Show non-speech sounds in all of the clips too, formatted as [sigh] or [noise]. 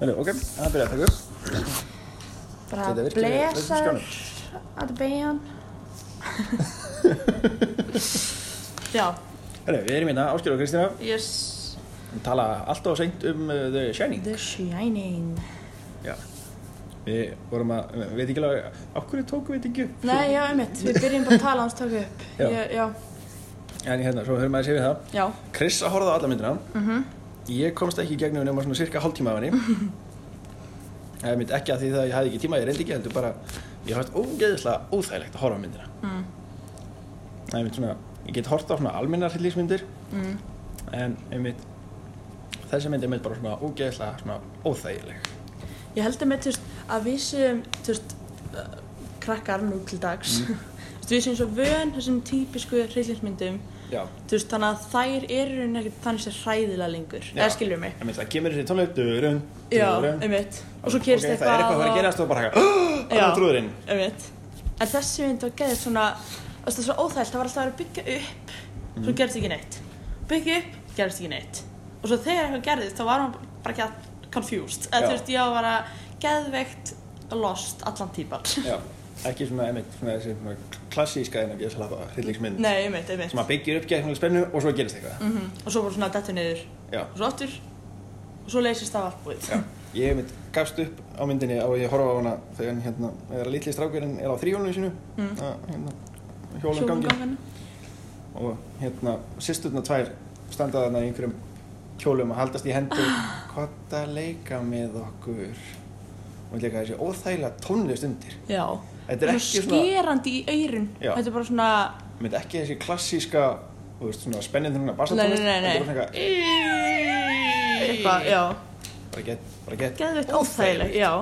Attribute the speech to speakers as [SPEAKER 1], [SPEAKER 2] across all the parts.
[SPEAKER 1] Herru, ok, það byrjaði að taka upp.
[SPEAKER 2] Bara
[SPEAKER 1] Þetta virkar- virkar
[SPEAKER 2] blessaður
[SPEAKER 1] skjánum.
[SPEAKER 2] að beigjan [laughs] Já,
[SPEAKER 1] Herru, við erum hérna, Áskjör og Kristina,
[SPEAKER 2] yes
[SPEAKER 1] við tala alltaf seint um uh, The Shining.
[SPEAKER 2] The Shining
[SPEAKER 1] Já. Við vorum að, við veit ekki alveg, á hverju tókum við þetta ekki upp?
[SPEAKER 2] Nei, já, einmitt, við byrjum bara að tala hans taka upp
[SPEAKER 1] Já.
[SPEAKER 2] Ég, já,
[SPEAKER 1] En hérna, svo höfum við að segja við það.
[SPEAKER 2] já,
[SPEAKER 1] Chris að horfa á alla myndina.
[SPEAKER 2] Mhm.
[SPEAKER 1] Ég komst ekki í gegnum nema svona cirka hálftíma
[SPEAKER 2] [laughs]
[SPEAKER 1] af henni. Það er mynd ekki að því það að ég hafði ekki tíma, ég reyndi ekki, heldur bara, ég hafði ógeðislega óþægilegt að horfa á myndina.
[SPEAKER 2] mm,
[SPEAKER 1] Það er mynd svona, ég get horta á svona almennar hryllísmyndir,
[SPEAKER 2] mm,
[SPEAKER 1] en einmitt, þessi mynd er mynd bara svona ógeðislega svona óþægileg.
[SPEAKER 2] Ég held einmitt, þú veist, að við séum, þú veist, uh, krakkar nú til dags [laughs] mm. Við séum svo vön þessum típisku hryllingsmyndum
[SPEAKER 1] Já.
[SPEAKER 2] Þú veist, þannig að þær eru í rauninni ekkert þannig sem hræðilega lengur
[SPEAKER 1] Já.
[SPEAKER 2] Eða skilur mig
[SPEAKER 1] Einmitt, það kemur þessi tónleik, durun,
[SPEAKER 2] Já, einmitt Og svo gerist
[SPEAKER 1] Ok, það er eitthvað að fara að gerast og bara hægja, hann
[SPEAKER 2] Já.
[SPEAKER 1] er trúðurinn.
[SPEAKER 2] einmitt. En þessi mynd var geðið svona Það var svona óþælt, það var alltaf að vera að byggja upp Svo
[SPEAKER 1] Mhm.
[SPEAKER 2] gerðist ekki neitt Byggja upp, gerðist ekki neitt Og svo þegar eitthvað gerðist, þá var hann bara ekki confused Eða
[SPEAKER 1] Já.
[SPEAKER 2] þú veist, ég á að vera geðveikt lost allan típan
[SPEAKER 1] Já, ekki svona, einmitt, svona þessi svona klassíska en að geða svolítið hryllingsmynd.
[SPEAKER 2] Nei, einmitt, einmitt
[SPEAKER 1] Sem að byggja upp gegn spennu og svo gerist eitthvað.
[SPEAKER 2] Mhm. Og svo bara svona dettur niður
[SPEAKER 1] Já.
[SPEAKER 2] Og svo aftur Og svo leysist það allt búið
[SPEAKER 1] Já, ég hef mitt gafst upp á myndinni og ég horfa á hana þegar hann, hérna, þegar litli strákurinn er á þrjónunum sínu,
[SPEAKER 2] Mm.
[SPEAKER 1] að, hérna, hjólum gangi
[SPEAKER 2] Sjóngangana
[SPEAKER 1] og hérna, sýsturna tvær standa þarna í einhverjum hjólum að haldast í
[SPEAKER 2] [gasps]
[SPEAKER 1] hendur, hvað að leika með okkur og líka þessi óþægilega tónlist undir.
[SPEAKER 2] Já
[SPEAKER 1] Þetta er
[SPEAKER 2] Og
[SPEAKER 1] ekki
[SPEAKER 2] svo
[SPEAKER 1] svona,
[SPEAKER 2] Skerandi í aurun
[SPEAKER 1] Já.
[SPEAKER 2] Þetta er bara svona
[SPEAKER 1] mynd ekki þessi klassíska, þú veist, svona spennandi hérna
[SPEAKER 2] Nei,
[SPEAKER 1] bassatónlist,
[SPEAKER 2] nei, nei, nei
[SPEAKER 1] bara svona eitthvað,
[SPEAKER 2] Eitthvað, já
[SPEAKER 1] bara gett, bara gett.
[SPEAKER 2] Geðveikt óþægilegt, já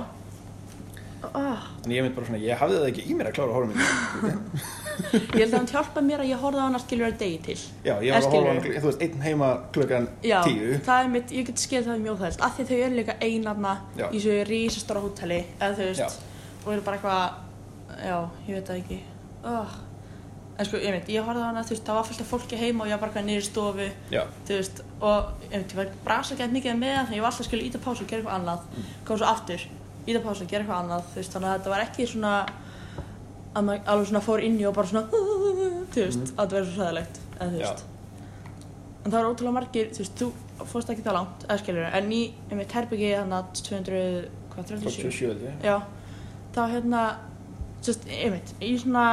[SPEAKER 2] oh,
[SPEAKER 1] Þannig ég mynd bara svona, ég hafði það ekki í mér að klára að horfa á myndina.
[SPEAKER 2] Ég held að hann hjálpa mér að ég horfði á hann að skiljur að degi til
[SPEAKER 1] Já, ég var að horfa á
[SPEAKER 2] Skilurðu?
[SPEAKER 1] hana, kl- þú veist, einn heima klukkan
[SPEAKER 2] Já,
[SPEAKER 1] tíu.
[SPEAKER 2] það er mitt, ég get skilð það er mjög þælt Af því þau eru líka einarna
[SPEAKER 1] Já.
[SPEAKER 2] í þessu rísastóra hóteli Eða þú veist, og eru bara eitthvað Já, ég veit það ekki oh. En sko, ég veit, ég horfði á hana, þú veist, það var fullt af fólki heima og ég var bara eitthvað niður í stofu
[SPEAKER 1] Já,
[SPEAKER 2] Þú veist, og ég veit, ég var brasa gætt mikið með það Þannig ég var alltaf að skilja íta pásu og gera eitthvað annað
[SPEAKER 1] Mm.
[SPEAKER 2] Kom svo aftur, íta pásu og gera eitthvað annað Þú veist, þannig að þetta var ekki svona Að maður alveg svona fór inn í og bara svona Þú veist, að þetta verður svo sæðilegt Eða þú
[SPEAKER 1] Mm. Já.
[SPEAKER 2] veist En það var ótrúlega margir, þú veist, þú fórst ekki það langt Eða skilur, en í, ég veit, herbyggi þannig að 200, hvað, 37
[SPEAKER 1] 37 held ég.
[SPEAKER 2] Já, þá hérna sérst, einmitt, í svona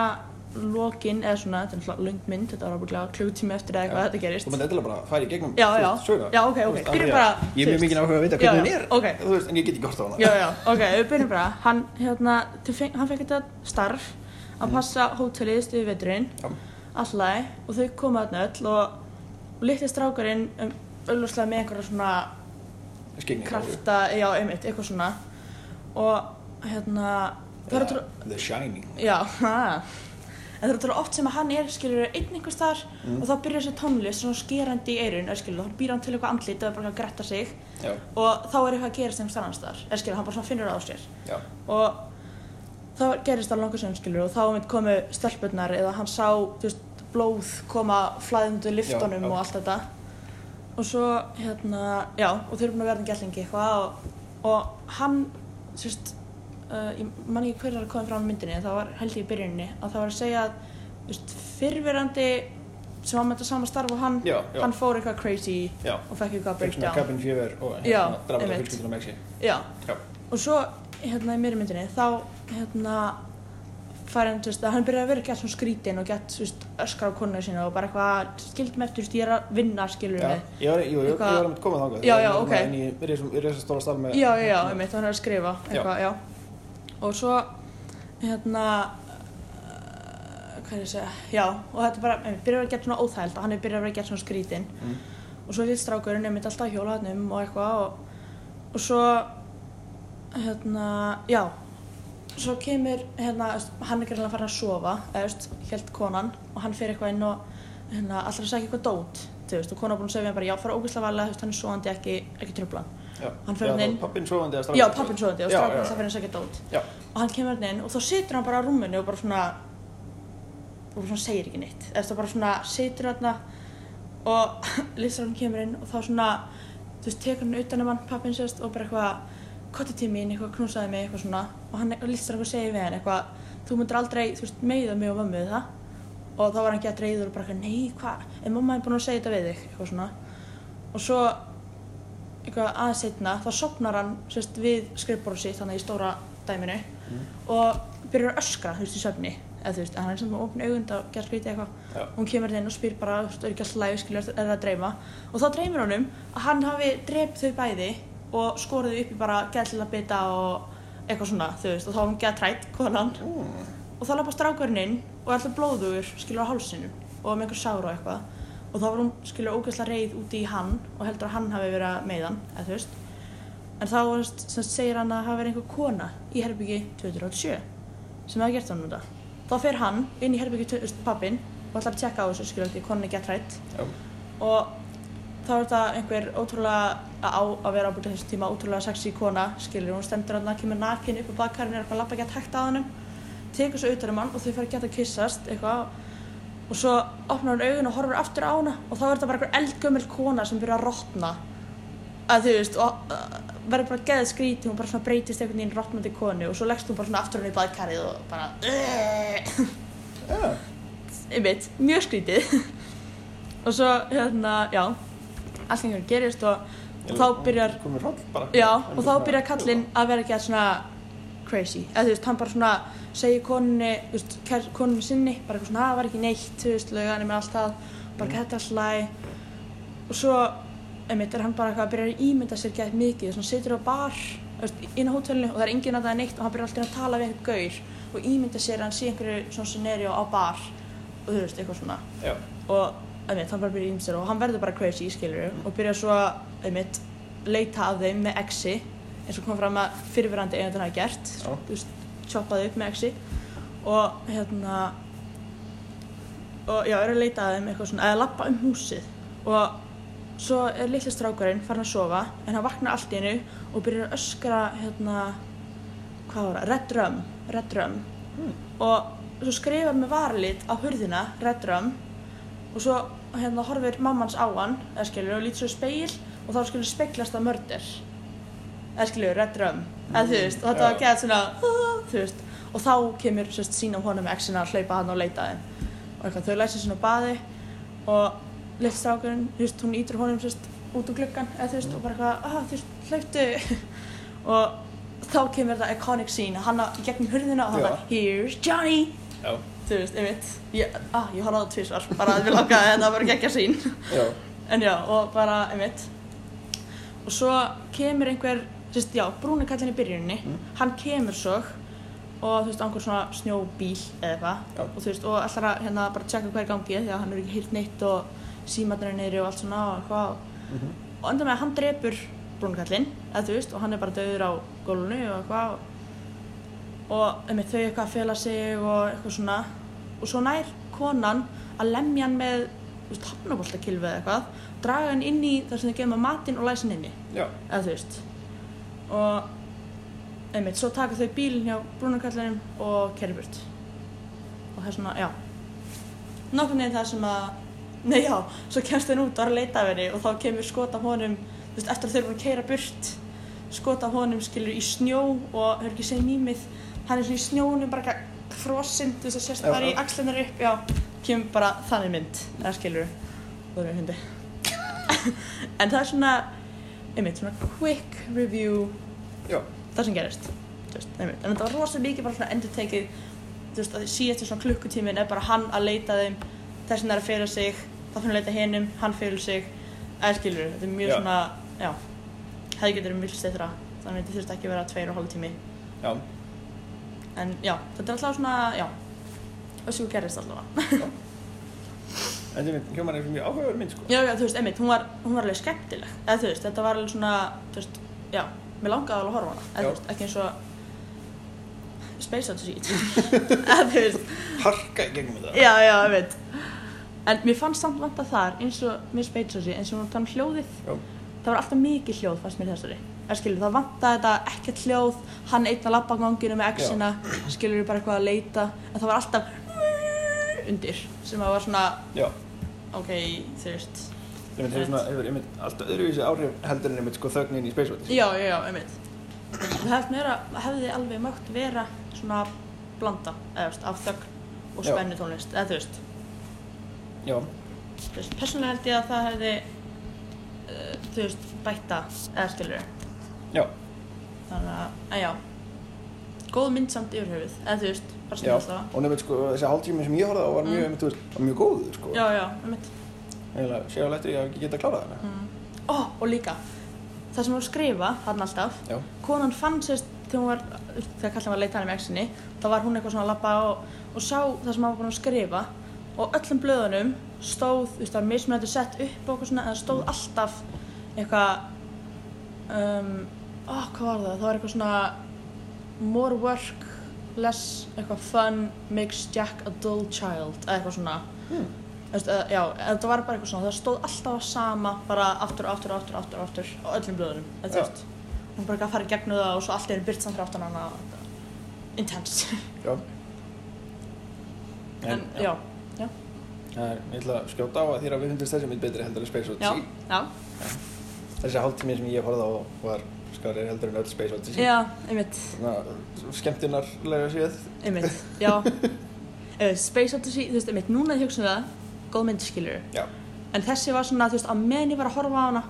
[SPEAKER 2] lokin, eða svona, þetta er náttúrulega löng mynd þetta var ábúinlega klukkutími eftir eða eitthvað
[SPEAKER 1] Já.
[SPEAKER 2] þetta gerist
[SPEAKER 1] Þú myndir endilega bara fara í gegnum
[SPEAKER 2] Já,
[SPEAKER 1] þú veist,
[SPEAKER 2] já.
[SPEAKER 1] söguna.
[SPEAKER 2] Já, ok,
[SPEAKER 1] Þú
[SPEAKER 2] ok.
[SPEAKER 1] veist, af
[SPEAKER 2] Byrjum
[SPEAKER 1] því að
[SPEAKER 2] bara,
[SPEAKER 1] Ég er
[SPEAKER 2] þú
[SPEAKER 1] mjög
[SPEAKER 2] veist.
[SPEAKER 1] mikið áhuga að vita
[SPEAKER 2] Já,
[SPEAKER 1] hvernig hún
[SPEAKER 2] já,
[SPEAKER 1] er
[SPEAKER 2] ok.
[SPEAKER 1] Þú veist, en ég get ekki hort á hana
[SPEAKER 2] já, já, ok, við byrjum bara hann, hérna, þau feng, hann fekk þetta starf að passa hótelið stuði veturinn,
[SPEAKER 1] Já.
[SPEAKER 2] allagi og þau koma þarna öll og, og litli strákurinn um, auðvarslega með einhverja svona
[SPEAKER 1] Skyggni
[SPEAKER 2] krafta, já, einmitt, eitthvað svona og hérna það er
[SPEAKER 1] Eða
[SPEAKER 2] ótrúlega-
[SPEAKER 1] The Shining
[SPEAKER 2] já, [laughs] ha en það er ótrúlega oft sem að hann er, skilur, einn einhvers þar og þá byrjar þessi tónlist svona skerandi í eirun, skilur, þá býr hann til eitthvað andlit og er bara eitthvað að gretta sig
[SPEAKER 1] Já,
[SPEAKER 2] og þá er eitthvað að gerast einhvers annars þar, eða skilur, hann bara svona finnur það á sér
[SPEAKER 1] já,
[SPEAKER 2] og þá gerist það langar sem skilur og þá mitt komu stelpurnar eða hann sá þú veist, blóð koma flæðundu liftunum
[SPEAKER 1] Já, já.
[SPEAKER 2] og allt þetta og svo hérna já og þau eru búin að verða gællingi eitthvað og, og hann sérst, uh, ég man ekki hverjar komið fram í myndinni en það var held ég í byrjuninni að það var að segja að þú veist, fyrrverandi sem var með þetta sama starf og hann
[SPEAKER 1] já, já,
[SPEAKER 2] hann fór eitthvað crazy
[SPEAKER 1] já
[SPEAKER 2] og fekk eitthvað
[SPEAKER 1] Fekk svona
[SPEAKER 2] breakdown
[SPEAKER 1] cabin fever og
[SPEAKER 2] Já,
[SPEAKER 1] hérna drafði
[SPEAKER 2] einmitt.
[SPEAKER 1] fjölskylduna með sig
[SPEAKER 2] já
[SPEAKER 1] Já,
[SPEAKER 2] og svo hérna í mér myndinni þá hérna farið hann, þú veist, að hann byrjaði að vera gett svona skrítinn og gett, þú veist, öskar á konu sína og bara eitthvað, skild mig eftir, þú veist, ég er að vinna, skilur
[SPEAKER 1] já,
[SPEAKER 2] mig.
[SPEAKER 1] ég var, jú, jú, ég
[SPEAKER 2] Eitthvað-
[SPEAKER 1] var að koma þangað
[SPEAKER 2] Já,
[SPEAKER 1] Ég
[SPEAKER 2] já,
[SPEAKER 1] var hérna
[SPEAKER 2] ok.
[SPEAKER 1] En ég er í þessum stóra stað með
[SPEAKER 2] Já, já, já, einmitt, hann er að skrifa, eitthvað, já. Og svo, hérna, uh, hvað er ég að segja, já, og þetta bara, einmitt, byrjaði að vera gett svona óþægild og hann er byrjaði að vera gett svona skrítinn.
[SPEAKER 1] Mm.
[SPEAKER 2] Og svo lítið strákurinn, einmitt, alltaf að hjóla hann um og eitthvað og, og svo, hérna, já, svo kemur hérna, veist, hann er greinlega að fara að sofa eða, veist, held konan og hann fer eitthvað inn og hérna, allra að segja eitthvað dót þú veist, og konan er búin að segja við hann bara já, fara ógæslega varlega, þú veist, hann er sofandi ekki, ekki tröflan
[SPEAKER 1] Já,
[SPEAKER 2] Hann fer hann inn.
[SPEAKER 1] Pappin sofandi eða strákurinn
[SPEAKER 2] já, pappin sofandi
[SPEAKER 1] Já,
[SPEAKER 2] og strafnir
[SPEAKER 1] já,
[SPEAKER 2] alltaf að finna að segja dót
[SPEAKER 1] Já,
[SPEAKER 2] og hann kemur hann inn og þá situr hann bara á rúminu og bara svona og bara svona segir ekki neitt eftir bara svona situr hann [laughs] og listar hann kemur inn og þá svona þú veist, tekur hann utan um hann pappin sérst og bara eitthvað kotti til mín, eitthvað knúsaði mig, eitthvað svona og hann listar eitthvað segir við hann eitthvað þú myndir aldrei, þú veist, meiða mig og mömmu við það og þá var hann gett reyður og bara eitthvað, nei, hvað, en mamma er búin að segja þetta við þig eitthvað svona og svo eitthvað aðeins setna þá sopnar hann sérst, við skrifbóru sitt þannig í stóra dæminu og byrjar að öskra, þú veist, í söfni eða þú veist, en hann er sem að opna augund og gera skrítið eitthvað
[SPEAKER 1] Já.
[SPEAKER 2] og hún kemur inn og spyr bara, þú veist, er ekki alltaf læg, skilur, er það að dreyma og þá dreymir honum að hann hafi dreypt þau bæði og skorið þau upp í bara gæðlega bita og eitthvað svona, þú veist, og þá var hún gæð trætt, konan
[SPEAKER 1] Mm.
[SPEAKER 2] og þá lappa strákurinn inn og er alltaf blóðugur skilur á hálsinum og með einhver sár og eitthvað og þá var hún skilur ógeðslega reið úti í hann og heldur að hann hafi verið að meiða hann eða þú veist en þá þú veist, sem sagt, segir hann að hafa verið einhver kona í herbyggi 287 sem hafa gert hann um þetta þá fer hann inn í herbyggi 2, pappin og ætlar að tjekka á þessu skilur því konan er gett rætt
[SPEAKER 1] Já.
[SPEAKER 2] og þá er þetta einhver ótrúlega á að vera ábúin þessum tíma ótrúlega sexy kona, skilur hún stendur hann kemur nakin upp á bakkarinn, er eitthvað að labba að geta hægt að hann tekur svo utan um hann og þau fara að geta að kyssast eitthvað og svo opnar hann augun og horfir aftur á hana og þá er þetta bara einhver eldgömmel kona sem byrjar að rotna að þú veist og uh, verður bara geðið skríti hún bara svona breytist einhvern veginn í rotnandi konu og svo leggst hún bara svona aftur hann í baðkarið og bara uh,
[SPEAKER 1] Já.
[SPEAKER 2] einmitt, mjög skrítið [laughs] og svo hérna, já allt einhvern gerist og, og þá byrjar
[SPEAKER 1] Komið hroll bara.
[SPEAKER 2] já, og þá byrjar kallinn að vera ekki að svona crazy, eða þú veist, hann bara svona segir konunni, þú veist, kær, konunni sinni bara eitthvað svona, það var ekki neitt, þú veist, lögani með allt það, bara kætti alltaf læg og svo, einmitt, er hann bara eitthvað að byrja að ímynda sér gett mikið svona situr á bar, þú veist, inn á hótelinu og það er enginn að það er neitt og hann byrjar alltaf að tala við einhver gaur og ímynda sér að hann sé einhverju svona scenario á bar og þú veist, eitthvað svona
[SPEAKER 1] Já.
[SPEAKER 2] og einmitt, hann bara byrjar ímsir og hann verður bara crazy, skilur og byrjar svo að einmitt, leita af þeim með exi eins og kom fram að fyrirverandi eigandinn hafi gert
[SPEAKER 1] Já.
[SPEAKER 2] þú veist, choppaði upp með exi og hérna og já, er að leita að þeim eitthvað svona, eða lappa um húsið og svo er litli strákurinn farin að sofa en hann vaknar allt í hennu og byrjar að öskra hérna, hvað var það, Red Rum Red Rum og svo skrifar með varlit á hurðina Red Rum og svo hérna horfir mammans á hann eða skilur og lítur svo í speil og þá skilur speglast það mörder eða skilur, Red Rum eða þú veist, og þetta var
[SPEAKER 1] já.
[SPEAKER 2] gett svona [laughs] "Ah", þú veist, og þá kemur sérst sín á honum exin að hlaupa hann og leita að þeim og eitthvað, þau læsir svona á baði og litstrákurinn, þú veist, hún ítur honum sérst út úr gluggan, eða þú veist, og bara eitthvað, ah, þú veist, hlauptu og þá kemur þetta iconic scene, hann að- í gegnum hurðina og hann
[SPEAKER 1] Já.
[SPEAKER 2] bara, here's Johnny
[SPEAKER 1] Já.
[SPEAKER 2] þú veist, einmitt ég, ah, ég horfði á það tvísvar, bara að við langaði þetta var geggja sín
[SPEAKER 1] Já.
[SPEAKER 2] en já, og bara, einmitt og svo kemur einhver sérst, já, brúni kallinn í byrjuninni
[SPEAKER 1] Mm.
[SPEAKER 2] hann kemur svo og þú veist, á einhver svona snjóbíl eða
[SPEAKER 1] Já.
[SPEAKER 2] eitthvað og þú veist, og ætlar að hérna bara tjekka hver gangi því að hann er ekki hýrt neitt og símatnir er niðri og allt svona og eitthvað
[SPEAKER 1] Mhm.
[SPEAKER 2] og enda með að hann drepur brúnkallinn, eða þú veist, og hann er bara döður á gólunu og eitthvað og- og einmitt þau eitthvað að fela sig og eitthvað svona og svo nær konan að lemja hann með hafnaboltakilfi eða eitthvað draga hann inn í þar sem þau gefum að matinn og læsa hann inni
[SPEAKER 1] Já.
[SPEAKER 2] eða þú veist og einmitt, svo taka þau bílinn hjá brúnarkallinum og kerri burt og það er svona, já nokkurn veginn það sem að nei já, svo kemst þeir út og er að leita af henni og þá kemur skot af honum þú veist, eftir að þau eru búin að keira burt skot af honum skilur í snjó og hefur ekki segið nýmið hann er svona í snjónum bara eitthvað frosinn þú veist að sérst
[SPEAKER 1] Já,
[SPEAKER 2] bara í
[SPEAKER 1] já.
[SPEAKER 2] axlunar upp já, kemur bara þannig mynd eða skilur þú erum hundi [laughs] en það er svona einmitt svona quick review
[SPEAKER 1] Já.
[SPEAKER 2] það sem gerist þú veist, einmitt. en þetta var rosa mikið bara svona endurtekið þú veist að síðast svona klukkutímin er bara hann að leita þeim þess vegna er að fyrir sig þá fyrir að leita hinum, hann fyrir sig eða skilur, þetta er mjög
[SPEAKER 1] Já.
[SPEAKER 2] svona já, hefði getur um vilst þeirra þannig að þetta þurfti ekki að vera tveir og hálf tími
[SPEAKER 1] Já.
[SPEAKER 2] en já, þetta er alltaf svona, já og svo gerist alltaf
[SPEAKER 1] En þetta er hljómar eitthvað mjög áhugaverð mynd sko.
[SPEAKER 2] já, já, þú veist, einmitt, hún var, hún var alveg skemmtileg eða þú veist, þetta var alveg svona þú veist, já, mér langaði alveg að horfa á hana eða
[SPEAKER 1] Já.
[SPEAKER 2] þú veist, ekki eins og Space Odyssey [laughs] eða þú veist,
[SPEAKER 1] Harka í gegnum þetta.
[SPEAKER 2] já, já, einmitt en mér fannst samt vant að þar eins og mér Space Odyssey, eins og hún tann hljóðið
[SPEAKER 1] Já.
[SPEAKER 2] það var alltaf mikið hljóð fannst mér í þessari eða skilur, það vantaði þetta ekkert hljóð hann einn að labba ganginu með exina skilur bara eitthvað að leita en það var alltaf undir sem að var svona,
[SPEAKER 1] Já.
[SPEAKER 2] ok, þú veist
[SPEAKER 1] Ég mynd hefur svona, hefur einmitt alltaf öðruvísi áhrif heldur en einmitt sko þögnin í Space Odyssey.
[SPEAKER 2] Já, já, já, einmitt það hefði, meira, hefði alveg mögt vera svona blanda eða, þú veist, af þögn og
[SPEAKER 1] Já.
[SPEAKER 2] spennu tónlist eða þú veist,
[SPEAKER 1] já,
[SPEAKER 2] þú veist persónulega held ég að það hefði uh, þú veist, bætta eða skilur
[SPEAKER 1] já,
[SPEAKER 2] þannig að, að já góð mynd samt yfir höfuð eða þú veist, bara
[SPEAKER 1] já
[SPEAKER 2] stundum alltaf
[SPEAKER 1] og nefnir sko þessi hálftími sem ég horfði á var mjög,
[SPEAKER 2] Mm.
[SPEAKER 1] mm. veist, var mjög góður sko
[SPEAKER 2] já, já, um mitt
[SPEAKER 1] eiginlega séu eftir ég hef ekki getað klárað
[SPEAKER 2] Mhm.
[SPEAKER 1] hana
[SPEAKER 2] ó, og líka, það sem hún var að skrifa hann alltaf,
[SPEAKER 1] já,
[SPEAKER 2] konan fann sérst þegar hún var, þegar kallin var að leita hann með exinni þá var hún eitthvað svona að labba og, og sá það sem hann var búin að skrifa og öllum blöðunum stóð, þú veist, það var mismunandi sett upp og eitthvað svona, en það stóð alltaf eitthvað um, ó, hvað var það, það var eitthvað svona more work, less eitthvað fun, makes Jack a dull child, eða eitthvað svona
[SPEAKER 1] Hmm.
[SPEAKER 2] Þú veist, eða, já, eða það var bara eitthvað svona, það stóð alltaf á sama, bara aftur, aftur, aftur, aftur, aftur á öllum blöðunum, eða þú
[SPEAKER 1] Já.
[SPEAKER 2] veist hún bara ekki að fara í gegnum það og svo allt er byrt samt fráttan hana intense
[SPEAKER 1] já
[SPEAKER 2] en, já, já,
[SPEAKER 1] Það er, ég ætla að skjóta á að þér að við fundist þessi mynd betri heldur en Space
[SPEAKER 2] já,
[SPEAKER 1] Odyssey.
[SPEAKER 2] já,
[SPEAKER 1] Þessi hálftími sem ég horfði á var skarið heldur en öll Space Odyssey.
[SPEAKER 2] já, einmitt,
[SPEAKER 1] Svona skemmtunarlega séð.
[SPEAKER 2] einmitt, já, uh, Space Odyssey, þú veist, einmitt, núna þegar ég hugsa um það, góð mynd skilur,
[SPEAKER 1] Já,
[SPEAKER 2] en þessi var svona, þú veist, á meðan ég var að horfa á hana,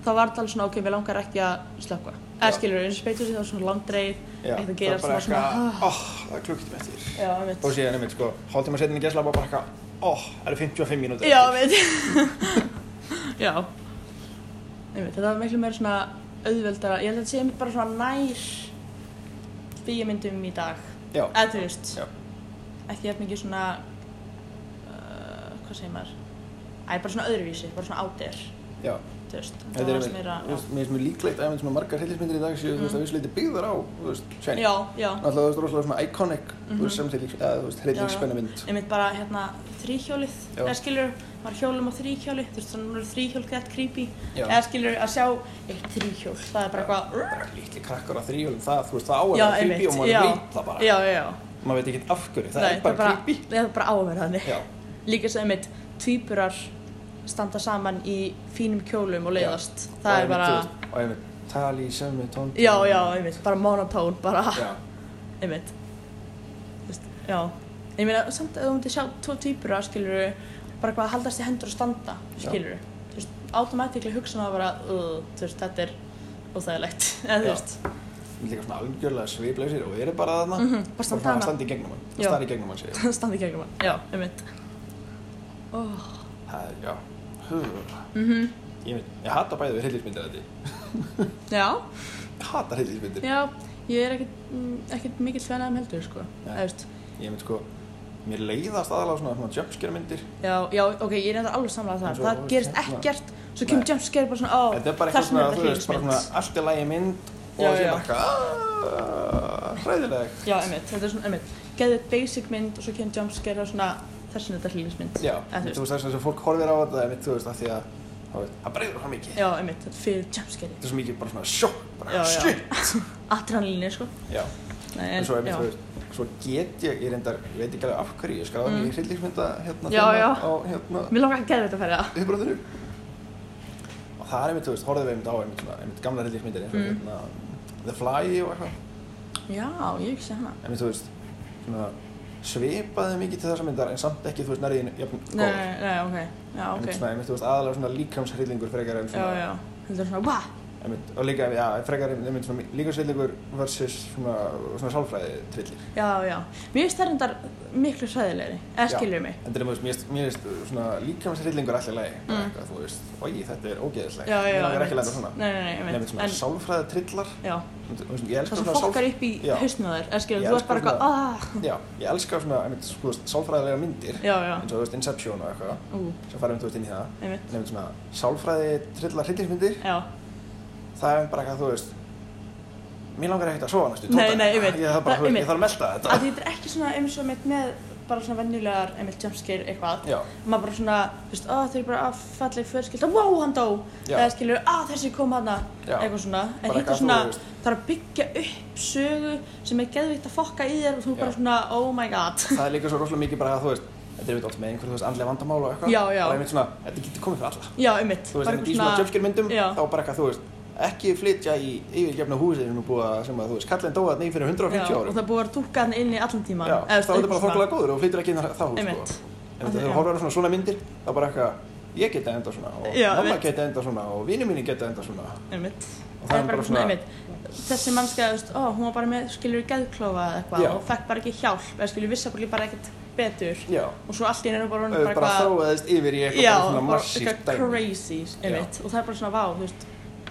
[SPEAKER 2] þá var það alveg svona, ok, við langar ekki að slökka, eða
[SPEAKER 1] Já.
[SPEAKER 2] skilur, eins og Space Odyssey, það var svona langdreið,
[SPEAKER 1] já.
[SPEAKER 2] Ekkert að
[SPEAKER 1] það
[SPEAKER 2] gera,
[SPEAKER 1] er bara
[SPEAKER 2] svona svona,
[SPEAKER 1] eitthvað, oh, það er klukkt með þér.
[SPEAKER 2] já, einmitt,
[SPEAKER 1] Og síðan, einmitt, sko, hálftíma setin í gæsla bara eitthvað, oh, það eru 55 mínútur.
[SPEAKER 2] Já, veit [laughs] Já Einmitt, Þetta var miklu meira svona auðveldara Ég held að þetta sé einmitt bara svona nær bíjamyndum í dag
[SPEAKER 1] Já,
[SPEAKER 2] eða þú veist
[SPEAKER 1] Já.
[SPEAKER 2] Ekki eftir mikið svona uh, Hvað segir maður Æ, bara svona öðruvísi, bara svona out there
[SPEAKER 1] já.
[SPEAKER 2] Þú veist,
[SPEAKER 1] Þetta er
[SPEAKER 2] þetta var
[SPEAKER 1] einmitt,
[SPEAKER 2] aðeins meira
[SPEAKER 1] þú veist, mér finnst mjög líklegt að einmitt svona margar heilismyndir í dag séu, þú veist, að vissu leiti byggðar á, þú veist, Shining.
[SPEAKER 2] Mm. Já, Mhm. já
[SPEAKER 1] Náttúrulega, þú veist, rosalega svona iconic, þú veist, samtílíks, eða, þú veist, hreitningsspennamynd.
[SPEAKER 2] Einmitt bara hérna þríhjólið
[SPEAKER 1] Já.
[SPEAKER 2] Eða skilur, maður hjólum á þríhjóli Þú veist, þannig að þríhjól gett creepy
[SPEAKER 1] Já.
[SPEAKER 2] Eða skilur að sjá eitt þríhjól Það er bara eitthvað
[SPEAKER 1] Lítli krakkar á þrýjólum, það, þú veist, það á að
[SPEAKER 2] Já,
[SPEAKER 1] vera creepy og
[SPEAKER 2] einmitt,
[SPEAKER 1] maður
[SPEAKER 2] já,
[SPEAKER 1] veit það bara.
[SPEAKER 2] já, já, já.
[SPEAKER 1] maður veit ekki af hverju, það
[SPEAKER 2] Nei,
[SPEAKER 1] er bara creepy
[SPEAKER 2] Það er bara á að vera þannig.
[SPEAKER 1] já,
[SPEAKER 2] Líka sem einmitt, tvíburar standa saman í fínum kjólum og leiðast.
[SPEAKER 1] Og
[SPEAKER 2] Það er
[SPEAKER 1] einmitt,
[SPEAKER 2] bara,
[SPEAKER 1] þú veist, og einmitt, tali í sömu tón
[SPEAKER 2] já, já, einmitt, bara monotón, bara,
[SPEAKER 1] já,
[SPEAKER 2] einmitt. Þú veist, já. Ég meina, samt að þú myndir sjá tvo tvíburar, skilur bara hvað að haldast í hendur og standa,
[SPEAKER 1] Já.
[SPEAKER 2] skilur Þú veist, automatikli hugsa maður bara, "Ugh," þú veist, þetta er óþægilegt, [laughs] eða
[SPEAKER 1] Já.
[SPEAKER 2] þú veist.
[SPEAKER 1] líka svona algjörlega sviplausir og eru bara þarna
[SPEAKER 2] Mhm, bara standa
[SPEAKER 1] svona
[SPEAKER 2] þarna.
[SPEAKER 1] standi í gegnum hann,
[SPEAKER 2] Já.
[SPEAKER 1] stari í gegnum hann segir.
[SPEAKER 2] [laughs] standa í gegnum hann, já, einmitt. Oh.
[SPEAKER 1] það er, já, hú
[SPEAKER 2] Mhm.
[SPEAKER 1] ég, veit, ég hata bæði við hryllismyndir þetta
[SPEAKER 2] Já.
[SPEAKER 1] ég hata hryllismyndir
[SPEAKER 2] Já, ég er ekkert, mm, ekkert mikill sveinaðum heldur, sko.
[SPEAKER 1] Nei.
[SPEAKER 2] Eða, þú veist,
[SPEAKER 1] ég veit sko, mér leiðast aðalega svona, svona jumpscare myndir
[SPEAKER 2] já, já, ok, ég er þetta alveg samlega
[SPEAKER 1] En
[SPEAKER 2] það.
[SPEAKER 1] svo,
[SPEAKER 2] það
[SPEAKER 1] þú veist,
[SPEAKER 2] gerist
[SPEAKER 1] hérna-
[SPEAKER 2] ekkert, svo
[SPEAKER 1] Nei.
[SPEAKER 2] kemur jumpscare bara svona, ó,
[SPEAKER 1] þetta er bara
[SPEAKER 2] þar
[SPEAKER 1] eitthvað
[SPEAKER 2] sem
[SPEAKER 1] svona, þú
[SPEAKER 2] er
[SPEAKER 1] veist, bara svona
[SPEAKER 2] hryllingsmynd.
[SPEAKER 1] allt í lagi mynd og
[SPEAKER 2] Já,
[SPEAKER 1] það sé
[SPEAKER 2] já.
[SPEAKER 1] bara eitthvað hræðilegt
[SPEAKER 2] Já, einmitt, þetta er svona, einmitt, geðið basic mynd og svo kemur jumpscare og svona, þessin þetta hlýningsmynd.
[SPEAKER 1] já,
[SPEAKER 2] Eða, þú
[SPEAKER 1] þú
[SPEAKER 2] veist,
[SPEAKER 1] veist þess að fólk horfir á þetta einmitt, þú veist, af því að þú veist, það breyður svo mikið
[SPEAKER 2] já, einmitt, þetta er fyrir jumpscare.
[SPEAKER 1] þetta er svo mikið bara svona sjokk, bara
[SPEAKER 2] Já, já.
[SPEAKER 1] shit
[SPEAKER 2] [laughs] Adrenalínu, sko.
[SPEAKER 1] já,
[SPEAKER 2] Nei,
[SPEAKER 1] en svo einmitt,
[SPEAKER 2] já.
[SPEAKER 1] þú veist svo get ég, ég reyndar, ég veit ekki alveg af hverju ég skráði mig í hryllingsmynda hérna
[SPEAKER 2] Mhm. Já,
[SPEAKER 1] þema
[SPEAKER 2] já.
[SPEAKER 1] á hérna
[SPEAKER 2] Mér langar ekki að þetta færi það.
[SPEAKER 1] uppbröðinu og það er einmitt, þú veist, horfðum við einmitt á einmitt, svona, einmitt gamla hryllingsmyndir eins og
[SPEAKER 2] Mm.
[SPEAKER 1] hérna The Fly og eitthvað
[SPEAKER 2] Já, ég hef ekki sé hana.
[SPEAKER 1] einmitt, þú veist, svona svipaði mikið til þessa myndar en samt ekki, þú veist, nærðin jafn góð
[SPEAKER 2] Nei, nei, ok, já,
[SPEAKER 1] einmitt,
[SPEAKER 2] ok.
[SPEAKER 1] svona, einmitt, þú veist, aðalega svona líkamshryllingur frekar en
[SPEAKER 2] Já,
[SPEAKER 1] svona
[SPEAKER 2] já, þetta er svona, wah,
[SPEAKER 1] Einmitt, og líka, já, frekar einmitt svona líkarsveitlegur versus svona, svona sálfræði trillir.
[SPEAKER 2] já, já. Mér finnst það reyndar miklu sæðilegri, eða skilur mig.
[SPEAKER 1] En þetta er, þú veist, mér finnst- mér finnst svona líkamsreitlingur allir lagi,
[SPEAKER 2] Mm.
[SPEAKER 1] mm. þú veist, oi, þetta er ógeðislegt,
[SPEAKER 2] Já, já,
[SPEAKER 1] mér langar ekki að
[SPEAKER 2] einmitt.
[SPEAKER 1] læra svona.
[SPEAKER 2] Nei, nei, nei, ég
[SPEAKER 1] Nei, einmitt svona
[SPEAKER 2] En,
[SPEAKER 1] sálfræði trillar,
[SPEAKER 2] já,
[SPEAKER 1] ég elska
[SPEAKER 2] það sem
[SPEAKER 1] svona
[SPEAKER 2] fokkar
[SPEAKER 1] sálfræði,
[SPEAKER 2] upp í
[SPEAKER 1] Já.
[SPEAKER 2] hausnum á þér, eða skilur,
[SPEAKER 1] Ég
[SPEAKER 2] þú
[SPEAKER 1] elska
[SPEAKER 2] ert bara eitthvað, ahhh,
[SPEAKER 1] já, ég elska svona, einmitt, sko, sálfræðilega myndir,
[SPEAKER 2] já, já,
[SPEAKER 1] eins og, þú veist, Inception og eitthvað,
[SPEAKER 2] ú,
[SPEAKER 1] sem fara einmitt, þú veist, inn í það.
[SPEAKER 2] einmitt,
[SPEAKER 1] En einmitt svona sálfræði trillar hryllingsmyndir,
[SPEAKER 2] já,
[SPEAKER 1] það er bara eitthvað, þú veist, mér langar ekkert að sofa næstu,
[SPEAKER 2] Nei,
[SPEAKER 1] tvo daga.
[SPEAKER 2] nei, einmitt.
[SPEAKER 1] Ég þarf bara,
[SPEAKER 2] Það-
[SPEAKER 1] þú veist,
[SPEAKER 2] einmitt.
[SPEAKER 1] ég þarf að melta þetta.
[SPEAKER 2] að því þetta er ekki svona eins og mitt með bara svona venjulegar, einmitt jumpscare eitthvað,
[SPEAKER 1] Já,
[SPEAKER 2] maður bara svona, þú veist, að þau eru bara að falla í fjörskilt, að wow, hann dó,
[SPEAKER 1] Já.
[SPEAKER 2] eða skilur, að þessi kom hana,
[SPEAKER 1] Já.
[SPEAKER 2] eitthvað svona,
[SPEAKER 1] Bara
[SPEAKER 2] en hitt
[SPEAKER 1] eitthvað
[SPEAKER 2] er svona,
[SPEAKER 1] þú veist.
[SPEAKER 2] það er að byggja upp sögu sem er geðvikt að fokka í þér og þú
[SPEAKER 1] Já.
[SPEAKER 2] bara svona, oh my god,
[SPEAKER 1] það er líka svo rosalega mikið bara að þú veist Þetta er við alltaf með einhver, þú veist, andlega vandamál og eitthvað
[SPEAKER 2] Já, já.
[SPEAKER 1] Og einmitt svona, þetta getur komið fyrir alla
[SPEAKER 2] já, einmitt,
[SPEAKER 1] Þú veist,
[SPEAKER 2] bara
[SPEAKER 1] en í svona jumpscare myndum
[SPEAKER 2] Já.
[SPEAKER 1] Þá bara eitthvað, þú veist, ekki flytja í yfirgefna húsi sem, er nú búið að- sem að þú veist, kallin dóðan í fyrir 150
[SPEAKER 2] Já,
[SPEAKER 1] árum
[SPEAKER 2] og það er búið að túka hann inn í allan tíman
[SPEAKER 1] Já, þá er þetta bara þokkulega góður og flyttir ekki inn að þá hús
[SPEAKER 2] Einmitt.
[SPEAKER 1] sko. En þetta
[SPEAKER 2] Þannig,
[SPEAKER 1] þegar
[SPEAKER 2] já.
[SPEAKER 1] horfður á svona, svona myndir þá bara eitthvað ég geta enda svona og
[SPEAKER 2] Já,
[SPEAKER 1] mamma
[SPEAKER 2] einmitt.
[SPEAKER 1] geta enda svona og vinið mínu geta enda svona
[SPEAKER 2] einmitt
[SPEAKER 1] Og
[SPEAKER 2] það er bara svona, einmitt þessi mannska, þú veist, ó, hún var bara með, skilur, geðklofa eða eitthvað
[SPEAKER 1] Já.
[SPEAKER 2] og fekk bara ekki hjálp eða skilur, vissi bara, bara ekkert betur
[SPEAKER 1] já,
[SPEAKER 2] og svo allt í henni bara,
[SPEAKER 1] bara, bara þróaðist yfir í eitthvað
[SPEAKER 2] já,
[SPEAKER 1] bara svona
[SPEAKER 2] bara
[SPEAKER 1] massíft
[SPEAKER 2] eitthvað
[SPEAKER 1] dæmi
[SPEAKER 2] crazy, einmitt og það er bara svona, vá, þú veist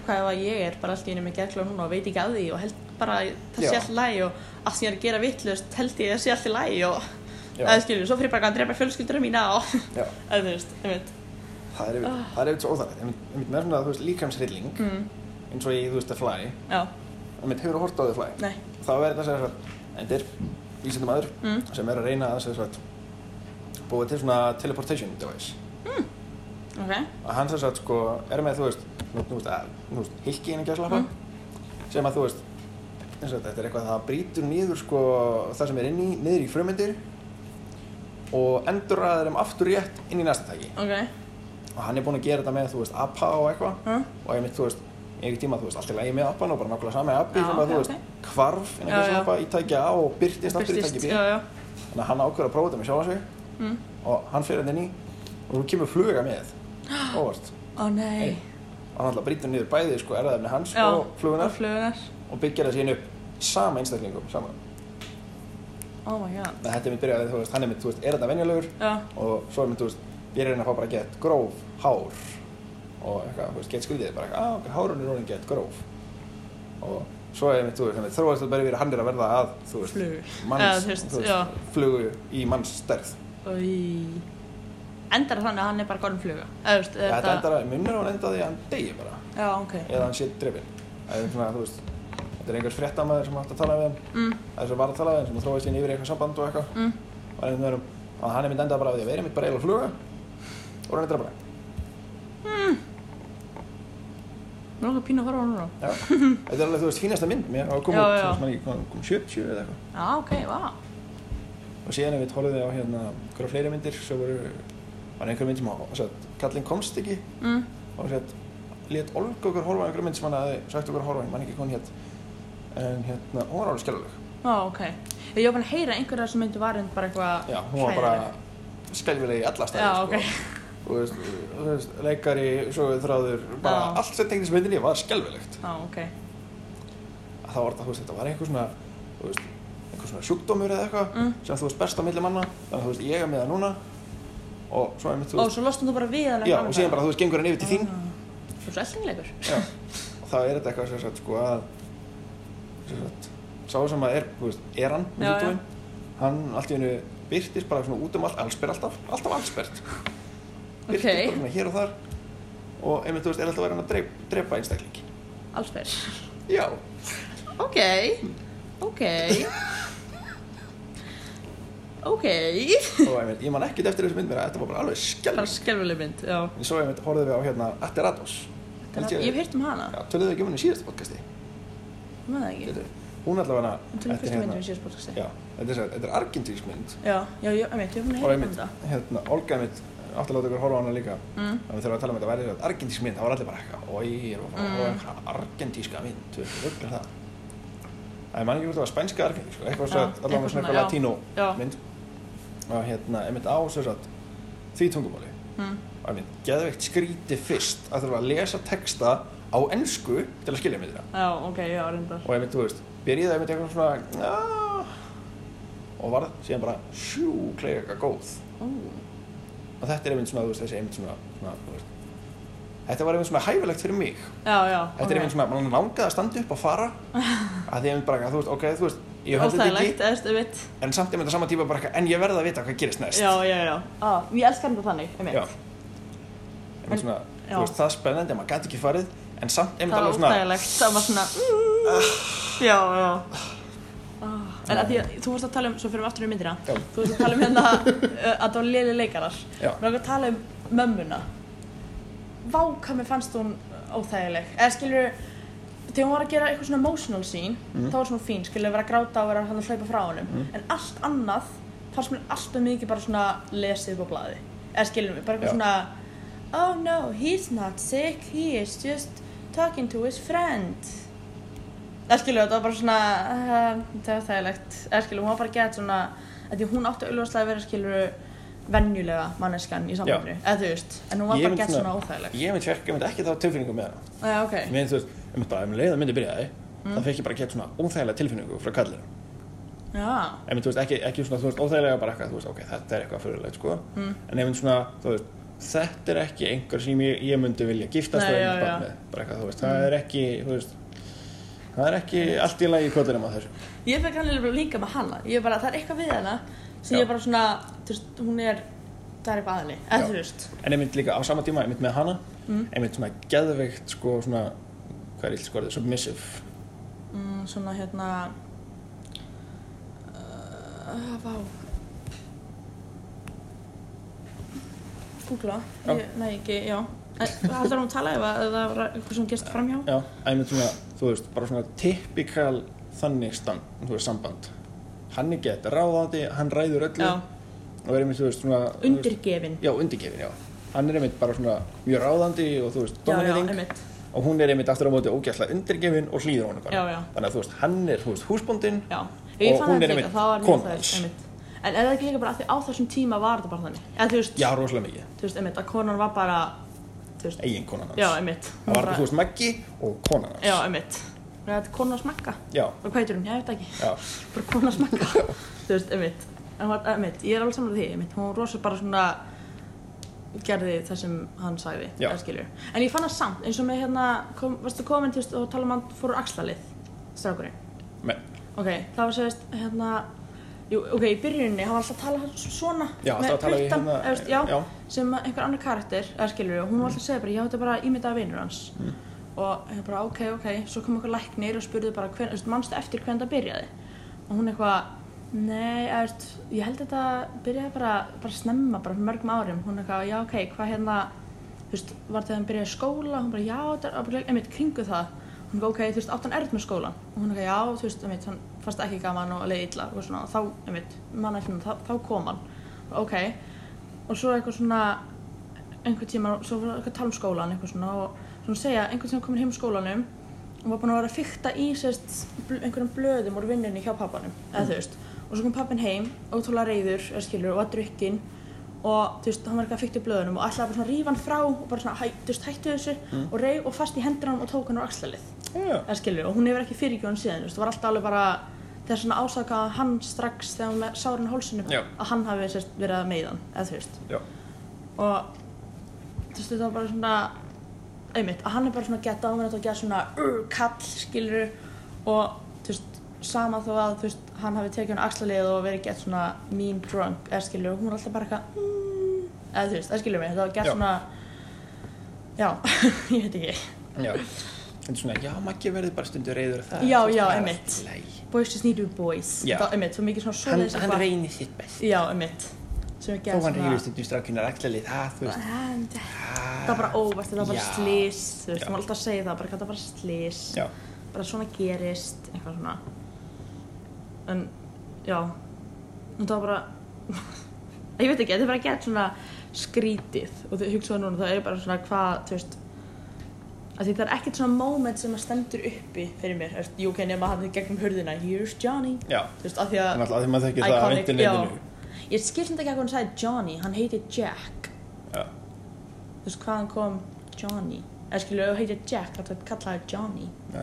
[SPEAKER 2] hvað ef að ég er bara allt í henni með geðklofa núna og veit ekki að því og held bara að það
[SPEAKER 1] Já.
[SPEAKER 2] sé allt í lagi og allt sem ég er að gera vittlust held ég að sé allt í lagi og
[SPEAKER 1] Já.
[SPEAKER 2] eða skilur, svo fyrir bara að drepa fjölskyldurum mína og
[SPEAKER 1] Já,
[SPEAKER 2] [laughs] eða þú veist, einmitt
[SPEAKER 1] það er yfir, það er yfir svo óþægilegt einmitt, einmitt með svona, þú veist, líkamsrilling
[SPEAKER 2] mm,
[SPEAKER 1] eins og í, þú veist, The Fly
[SPEAKER 2] já,
[SPEAKER 1] einmitt hefur að horta á The Fly
[SPEAKER 2] nei,
[SPEAKER 1] þá er þetta sem sagt, þetta er vísindum aður
[SPEAKER 2] Mm.
[SPEAKER 1] sem er að reyna að sem sagt, búa til svona teleportation device
[SPEAKER 2] ok
[SPEAKER 1] að hann sem sagt sko er með þú veist, nú, nú veist, að, nú veist hilki innan gæslappa
[SPEAKER 2] Mhm.
[SPEAKER 1] sem að þú veist eins og þetta er eitthvað að það brýtur niður sko það sem er inn í, niður í frumyndir og endur að þeim aftur rétt inn í næsta tæki
[SPEAKER 2] ok,
[SPEAKER 1] og hann er búinn að gera þetta með þú veist appa og eitthvað
[SPEAKER 2] Mm.
[SPEAKER 1] og ég mitt þú veist einhver tíma þú veist allt í lagi með appan og bara nákvæmlega sami appi
[SPEAKER 2] Já,
[SPEAKER 1] sem að
[SPEAKER 2] ok,
[SPEAKER 1] þú veist
[SPEAKER 2] ok.
[SPEAKER 1] hvarf innan
[SPEAKER 2] Já, já.
[SPEAKER 1] gæslappa í tæki A og byrtist aftur í
[SPEAKER 2] Birtist,
[SPEAKER 1] tæki B
[SPEAKER 2] já, já,
[SPEAKER 1] þannig að hann ákveður að prófa þetta með sjálfa sig
[SPEAKER 2] Mm.
[SPEAKER 1] og hann fyrir hann inn í og þú kemur fluga
[SPEAKER 2] [gasps]
[SPEAKER 1] með óvart
[SPEAKER 2] Ó nei.
[SPEAKER 1] Nei. og hann alltaf brýtur niður bæði sko erðafni hans
[SPEAKER 2] Já,
[SPEAKER 1] og flugunar
[SPEAKER 2] Og flugunar.
[SPEAKER 1] og byggir það síðan upp sama einstaklingum saman
[SPEAKER 2] Oh my god.
[SPEAKER 1] Þannig að þetta er mitt byrjaði þú veist hann er mitt þú veist er þetta venjulegur
[SPEAKER 2] Já,
[SPEAKER 1] og svo er mitt þú veist ég er að reyna að fá bara gett gróf hár og eitthvað þú veist gett skuldið bara eitthvað ah, ok, hárun er orðin gett gróf og svo er mitt þú veist þannig að þróast þetta bara yfir að hann er að verða að þú veist
[SPEAKER 2] Flugu. Eða,
[SPEAKER 1] manns
[SPEAKER 2] þú veist,
[SPEAKER 1] þú
[SPEAKER 2] já.
[SPEAKER 1] veist flugu í manns stærð
[SPEAKER 2] og í... Endar þannig að hann er bara gorn fluga. Eða, þú veist,
[SPEAKER 1] Ja, þetta endar að minnur hún endaði að hann degi bara
[SPEAKER 2] Já, ok.
[SPEAKER 1] eða hann sé drefin það er svona þú veist þetta er einhvers fréttamaður sem átt að tala við hann
[SPEAKER 2] Mm,
[SPEAKER 1] það er svo var að tala við hann sem þróið sín yfir í eitthvað samband og eitthvað
[SPEAKER 2] mm.
[SPEAKER 1] og einhvern veginn um, að hann er mynd endað bara á því að vera mitt bara eiginlega fluga og hann er drefin
[SPEAKER 2] Mér langar pínu að horfa á hann núna. [laughs]
[SPEAKER 1] já þetta er alveg þú veist fínasta mynd mér og kom
[SPEAKER 2] Já,
[SPEAKER 1] út
[SPEAKER 2] já.
[SPEAKER 1] sem manni kom, kom 70 eða eitthvað
[SPEAKER 2] Já, ok, vá.
[SPEAKER 1] og síðan ef við horfðum á hérna hverja fleiri myndir svo voru var einhver mynd sem á satt, kallinn komst ekki
[SPEAKER 2] Mm.
[SPEAKER 1] og satt, let Olga okkur horfa á einhver mynd sem hann hafði sagt okkur að horfa á, ég man ekki hvað hún hét. En, hérna, hún var alveg skelfileg.
[SPEAKER 2] Já, ok. Ég var bara að heyra einhverja sem myndi varund bara eitthvað...
[SPEAKER 1] Já, hún var bara skelvileg í alla staði
[SPEAKER 2] Já, ok.
[SPEAKER 1] sko. Þú veist, þú veist, leikari, söguþráður, bara
[SPEAKER 2] Já.
[SPEAKER 1] allt sem tengdist myndinni var skelvilegt.
[SPEAKER 2] Já, ok.
[SPEAKER 1] Að Það var þetta, þú veist, þetta var einhver svona, þú veist, einhver svona sjúkdómur eða eitthvað
[SPEAKER 2] Mm.
[SPEAKER 1] sem þú veist best á milli manna, þannig að þú veist, ég er með það núna og svo er mitt, þú
[SPEAKER 2] Og
[SPEAKER 1] veist,
[SPEAKER 2] svo lostum þú bara við hann
[SPEAKER 1] já, og síðan bara, þú veist, gengur hann yfir til
[SPEAKER 2] Mm.
[SPEAKER 1] þín
[SPEAKER 2] Svo svo eldingilegur.
[SPEAKER 1] Já, og þá er þetta eitthvað sem sagt sko að sem sagt, sá sem að er, þú veist, er hann með
[SPEAKER 2] Já, já.
[SPEAKER 1] sjúkdóminn hann allt í hennu byrtist bara svona út um allt, allsber alltaf, alltaf allsbert byrtist
[SPEAKER 2] Ókei.
[SPEAKER 1] bara svona hér og þar og einmitt þú veist, er alltaf verið hann að dreip, drepa einstakling
[SPEAKER 2] Alls
[SPEAKER 1] [laughs]
[SPEAKER 2] fyrir.
[SPEAKER 1] Já,
[SPEAKER 2] Ok,
[SPEAKER 1] [laughs]
[SPEAKER 2] ok, ok,
[SPEAKER 1] og einmitt, ég man ekkert eftir þessu mynd mér að þetta var bara alveg
[SPEAKER 2] bara
[SPEAKER 1] skelving
[SPEAKER 2] skelvileg mynd, já.
[SPEAKER 1] en svo einmitt horfðum við á hérna Atterados
[SPEAKER 2] Ég hef heyrt um hana,
[SPEAKER 1] Já, töluðu ekki um henni í síðasta podcasti
[SPEAKER 2] ég maður það ekki.
[SPEAKER 1] Þetta- Hún allavega
[SPEAKER 2] Hún tölum fyrstu myndum í síðast podcasti.
[SPEAKER 1] hérna. Já, þetta er, sem sagt- þetta er argentísk mynd
[SPEAKER 2] Já, já, ég veit, ég hef
[SPEAKER 1] og
[SPEAKER 2] hún að heyra um
[SPEAKER 1] einmitt,
[SPEAKER 2] þetta.
[SPEAKER 1] hérna, Olga einmitt átti að láta ykkur horfa á hana líka
[SPEAKER 2] Mm.
[SPEAKER 1] þannig að við þurfum að tala um þetta væri þetta argentísk mynd, það var allir bara eitthvað oi, ég er að fara að
[SPEAKER 2] Mm.
[SPEAKER 1] horfa á eitthvað argentíska mynd þú veist, rugglar það það er mann ekki hvort það var spænska argentísk sko, eitthvað
[SPEAKER 2] Já,
[SPEAKER 1] svo að allavega
[SPEAKER 2] eitthvað
[SPEAKER 1] svona
[SPEAKER 2] svona,
[SPEAKER 1] eitthvað
[SPEAKER 2] já.
[SPEAKER 1] latínó
[SPEAKER 2] Já.
[SPEAKER 1] mynd og hérna, einmitt á svo satt því tungumáli
[SPEAKER 2] Mm.
[SPEAKER 1] og einmitt, geðveikt skríti fyrst að þurfa að lesa texta á ensku til að skilja myndina
[SPEAKER 2] Já, ok, já, reyndar.
[SPEAKER 1] og einmitt, þú veist, byrjaði einmitt eitthvað svona "Ah", og varð síðan bara sjúklega góð
[SPEAKER 2] Ó,
[SPEAKER 1] og þetta er einmitt svona, þú veist, þessi einmitt svona, svona þú veist, þetta var einmitt svona hæfilegt fyrir mig
[SPEAKER 2] Já, já,
[SPEAKER 1] þetta er einmitt svona, mann langaði að standa upp og fara
[SPEAKER 2] [laughs]
[SPEAKER 1] að því einmitt bara, eitthvað, þú veist, ok, þú veist ég höfði þetta
[SPEAKER 2] Óþægilegt,
[SPEAKER 1] ekki,
[SPEAKER 2] eða þú veit.
[SPEAKER 1] en samt einmitt á sama tíma bara, eitthvað, en ég verði að vita hvað gerist næst
[SPEAKER 2] Já, já, já. Ah, ég elskar þetta þannig, ég
[SPEAKER 1] Já.
[SPEAKER 2] veit.
[SPEAKER 1] einmitt svona,
[SPEAKER 2] Já.
[SPEAKER 1] þú veist, það er spennandi en maður gæti ekki farið, en samt
[SPEAKER 2] Það
[SPEAKER 1] einmitt
[SPEAKER 2] var
[SPEAKER 1] alveg svona
[SPEAKER 2] óþægilegt, það var svona... Já, já. Ah, En að því að þú vorst að tala um, svo fyrir við aftur í myndina,
[SPEAKER 1] Já.
[SPEAKER 2] þú vorst að tala
[SPEAKER 1] [laughs]
[SPEAKER 2] um hérna uh, að það var liðli leikarar.
[SPEAKER 1] já,
[SPEAKER 2] Mér langar að tala um mömmuna. Vá, hvað mér fannst hún óþægileg. Eða skilur, þegar hún var að gera eitthvað svona emotional scene,
[SPEAKER 1] Mhm.
[SPEAKER 2] þá var svona fín, skilur, vera að gráta og vera hann að hlaupa frá honum. En allt annað fannst mér alltaf mikið bara svona lesið upp á blaði. Eða skilur mig, bara eitthvað
[SPEAKER 1] Já.
[SPEAKER 2] svona, oh no, he's not sick, he is just talking to his friend Erskilu, þetta var bara svona uh, það var þægilegt Erskilu, hún var bara gett svona af því hún átti auðvitað að vera skiluru venjulega manneskan í sambandinu eða þú veist, en hún var
[SPEAKER 1] Ég
[SPEAKER 2] bara
[SPEAKER 1] myndi
[SPEAKER 2] gett svona
[SPEAKER 1] svona-
[SPEAKER 2] óþægileg
[SPEAKER 1] Ég myndi fekk, ég myndi ekki þá tilfinningu með hana.
[SPEAKER 2] Já, ok,
[SPEAKER 1] Ég myndi, þú veist, ég myndi bara, ef mér leið að myndi byrjaði,
[SPEAKER 2] Mm.
[SPEAKER 1] þá fekk ég bara gett svona óþægilega tilfinningu frá kallir.
[SPEAKER 2] já,
[SPEAKER 1] Ég myndi, þú veist, ekki, ekki svona, þú veist, óþægilega bara eitthvað, þú veist, ok, þetta er eitthvað fyrirlegt, sko.
[SPEAKER 2] hm.
[SPEAKER 1] Mm. En ég myndi svona, þú veist, þetta er ekki einhver sem ég, ég myndi vilja giftast og
[SPEAKER 2] Nei, já,
[SPEAKER 1] eignast barn
[SPEAKER 2] já.
[SPEAKER 1] með. Bara eitthvað, þú veist, það er ekki, þú veist, það er ekki allt í lagi kvöldurum á þessu.
[SPEAKER 2] ég fekk hann alveg líka með hana ég bara, það er eitthvað við hana sem
[SPEAKER 1] Já.
[SPEAKER 2] ég bara svona, þú veist, hún er það er eitthvað aðli,
[SPEAKER 1] Já.
[SPEAKER 2] eða þú veist
[SPEAKER 1] En einmitt líka á sama tíma, einmitt með hana,
[SPEAKER 2] Mm.
[SPEAKER 1] einmitt svona geðveikt, sko, svona, hvað er sko, illt skorðið, submissive.
[SPEAKER 2] mm, svona hérna uh, vá Google
[SPEAKER 1] Já.
[SPEAKER 2] ég, nei ekki, já Hallar hún að tala ef að ef það var eitthvað sem gerst framhjá?
[SPEAKER 1] Já, einmitt svona, þú veist, bara svona typikal þannig stand, þú veist, samband. Hann er gett ráðandi, hann ræður öllu
[SPEAKER 2] Já.
[SPEAKER 1] og er einmitt, þú veist, svona... þú veist-
[SPEAKER 2] Undirgefin
[SPEAKER 1] Já, undirgefin, já. Hann er einmitt bara svona mjög ráðandi og þú veist,
[SPEAKER 2] Já, já,
[SPEAKER 1] dominating
[SPEAKER 2] einmitt
[SPEAKER 1] og hún er einmitt aftur á móti ógæslega undirgefin og hlýður honum bara.
[SPEAKER 2] Já, já.
[SPEAKER 1] Þannig að þú veist, hann er, þú veist, húsbóndin
[SPEAKER 2] Já, ég
[SPEAKER 1] Og
[SPEAKER 2] fann
[SPEAKER 1] hún
[SPEAKER 2] það
[SPEAKER 1] er
[SPEAKER 2] líka,
[SPEAKER 1] einmitt
[SPEAKER 2] það var
[SPEAKER 1] kona
[SPEAKER 2] mjög það
[SPEAKER 1] hans.
[SPEAKER 2] einmitt En er það ekki líka bara að því á þessum tíma var þetta bara þannig? Eða þú veist,
[SPEAKER 1] Já, rosalega mikið,
[SPEAKER 2] þú veist, einmitt, að konan var bara, þú veist,
[SPEAKER 1] eigin konan hans.
[SPEAKER 2] já, einmitt Hún
[SPEAKER 1] Það var,
[SPEAKER 2] bara-
[SPEAKER 1] þú veist, Maggi og konan hans.
[SPEAKER 2] Já, einmitt Og Þetta er konan að smakka
[SPEAKER 1] Já,
[SPEAKER 2] Og hvað heitir hún? Já, ég veit það ekki
[SPEAKER 1] já,
[SPEAKER 2] bara komin að smakka þú veist, einmitt. En hún var- einmitt, ég er alveg saman því einmitt. hún var rosa bara svona gerði það sem hann sagði
[SPEAKER 1] Já.
[SPEAKER 2] eða skilur. en ég fann það samt eins og með hérna kom, varstu komin til og tala um hann fór úr axlalið strákurinn
[SPEAKER 1] Men,
[SPEAKER 2] ok, það var sérst hérna jú, ok, í byrjuninni hann var alltaf að tala svona
[SPEAKER 1] já, alltaf að tala við
[SPEAKER 2] puttann,
[SPEAKER 1] hérna.
[SPEAKER 2] eða veist, já,
[SPEAKER 1] já,
[SPEAKER 2] sem einhver annar karakter eða skilur, og hún var alltaf að segja bara, já þetta er bara ímyndaða vinur hans og ég bara, ok, ok, svo kom einhver læknir og spurði bara, hver, veist, manstu eftir hvernig það byrjaði og hún eitthvað nei, eða veist, ég held að þetta byrjaði bara, bara snemma, bara fyrir mörgum árum hún eitthvað, já ok, hvað hérna þú veist, var þegar hann byrjaði í skóla hún bara, já, þetta er bara, einmitt, kringu það hún eitthvað, ok, þú veist, átt hann erð með skólan og hún eitthvað, já, þú veist, einmitt, hann fannst ekki gaman og leið illa og svona, og þá, einmitt, mann eftir hann, þá, þá kom hann ok, og svo eitthvað svona einhver tíma, svo var eitthvað að tala um skólan eitthvað svona og svona segja, einhvern tíma komin heim úr skólanum og var búin að vera að fykta í sérst bl einhverjum blöðum úr vinnunni hjá pappanum, eða þú veist og svo kom pappin heim, ótrúlega reyður eða skilur, og var drukkin og þú veist, hann var eitthvað að fykta í blöðunum og alltaf bara svona rífa hann frá og bara svona, hæ, þú veist, hættu þessu og reyð og fast í hendur hann og tók hann á axlalið
[SPEAKER 1] já,
[SPEAKER 2] eða skilur, og hún hefur ekki fyrirgjóðan síðan þú veist, það var alltaf alveg bara þess að ásaka hann strax þegar hún með sárun hálsinu
[SPEAKER 1] Já.
[SPEAKER 2] að hann hafi sérst, verið að meiðan eða þú veist
[SPEAKER 1] já,
[SPEAKER 2] og þú veist þetta var bara svona einmitt, að hann er bara svona gett ámennat og gett svona uh, kall skilur og þú veist sama þó að þú veist hann hafi tekið hann axlalið og verið gett svona mean drunk eða skilur, hún er alltaf bara eitthvað mm, eða þú veist, eða skilur mig, þetta var gett
[SPEAKER 1] Já.
[SPEAKER 2] svona já, [laughs] ég veit ekki
[SPEAKER 1] já. En svona, já, Maggi verður bara stundu reyður að það.
[SPEAKER 2] Já,
[SPEAKER 1] þú veist,
[SPEAKER 2] já,
[SPEAKER 1] það er
[SPEAKER 2] einmitt.
[SPEAKER 1] allt í lagi.
[SPEAKER 2] boys just need to be boys
[SPEAKER 1] Já.
[SPEAKER 2] það var einmitt, svo mikið svona
[SPEAKER 1] Hann,
[SPEAKER 2] svoleiðis
[SPEAKER 1] hann reynir sitt best.
[SPEAKER 2] já, einmitt sem er
[SPEAKER 1] Þó
[SPEAKER 2] gett
[SPEAKER 1] hann reyður stundum strákunar axlalið, það, þú veist.
[SPEAKER 2] "Ah, það var bara óvart, þetta var bara
[SPEAKER 1] Já.
[SPEAKER 2] slís þú veist,
[SPEAKER 1] Já.
[SPEAKER 2] það var alltaf að segja það, bara hvað það var bara slís
[SPEAKER 1] Já,
[SPEAKER 2] bara svona gerist eitthvað svona en já en það var bara [laughs] ég veit ekki, þetta er bara gett svona skrítið og þau hugsaðu núna það er bara svona hvað, þú veist að því það er ekkert svona moment sem að stendur uppi fyrir mér, þú veist, jú ok, nema hann í gegnum hurðina, here's Johnny
[SPEAKER 1] já.
[SPEAKER 2] þú veist, að því að
[SPEAKER 1] Þannig að því maður þekkir það af
[SPEAKER 2] Iconic,
[SPEAKER 1] internetinu.
[SPEAKER 2] já. ég skil samt ekki að hann sagði Johnny, hann heitir Jack
[SPEAKER 1] Já.
[SPEAKER 2] þú veist, hvaðan kom Johnny eða skilur, ef þú heitir Jack, þá þetta kallaði Johnny
[SPEAKER 1] Já.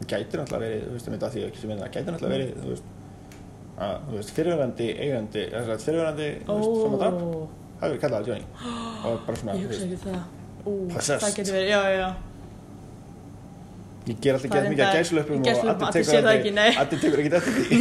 [SPEAKER 1] Það gætir náttúrulega verið, þú veist, það að því ekki sem minna, það gætir náttúrulega verið, þú veist, að, þú veist, fyrirverandi, eigandi, þess að fyrirverandi, þú veist, sem að draf,
[SPEAKER 2] Ó.
[SPEAKER 1] það hefur verið kallað að Johnny. Og bara svona,
[SPEAKER 2] Ég
[SPEAKER 1] þú
[SPEAKER 2] hugsa
[SPEAKER 1] veist,
[SPEAKER 2] ekki um það. Ú,
[SPEAKER 1] Possessed.
[SPEAKER 2] það getur verið, já, já, já.
[SPEAKER 1] ég ger alltaf
[SPEAKER 2] Það er
[SPEAKER 1] gett mikið að
[SPEAKER 2] enda-
[SPEAKER 1] gæslöpum og
[SPEAKER 2] gæslöppum,
[SPEAKER 1] allir
[SPEAKER 2] allir séu
[SPEAKER 1] tekur
[SPEAKER 2] það ekki, nei.
[SPEAKER 1] allir tekur ekkert eftir
[SPEAKER 2] [laughs]
[SPEAKER 1] því. [laughs]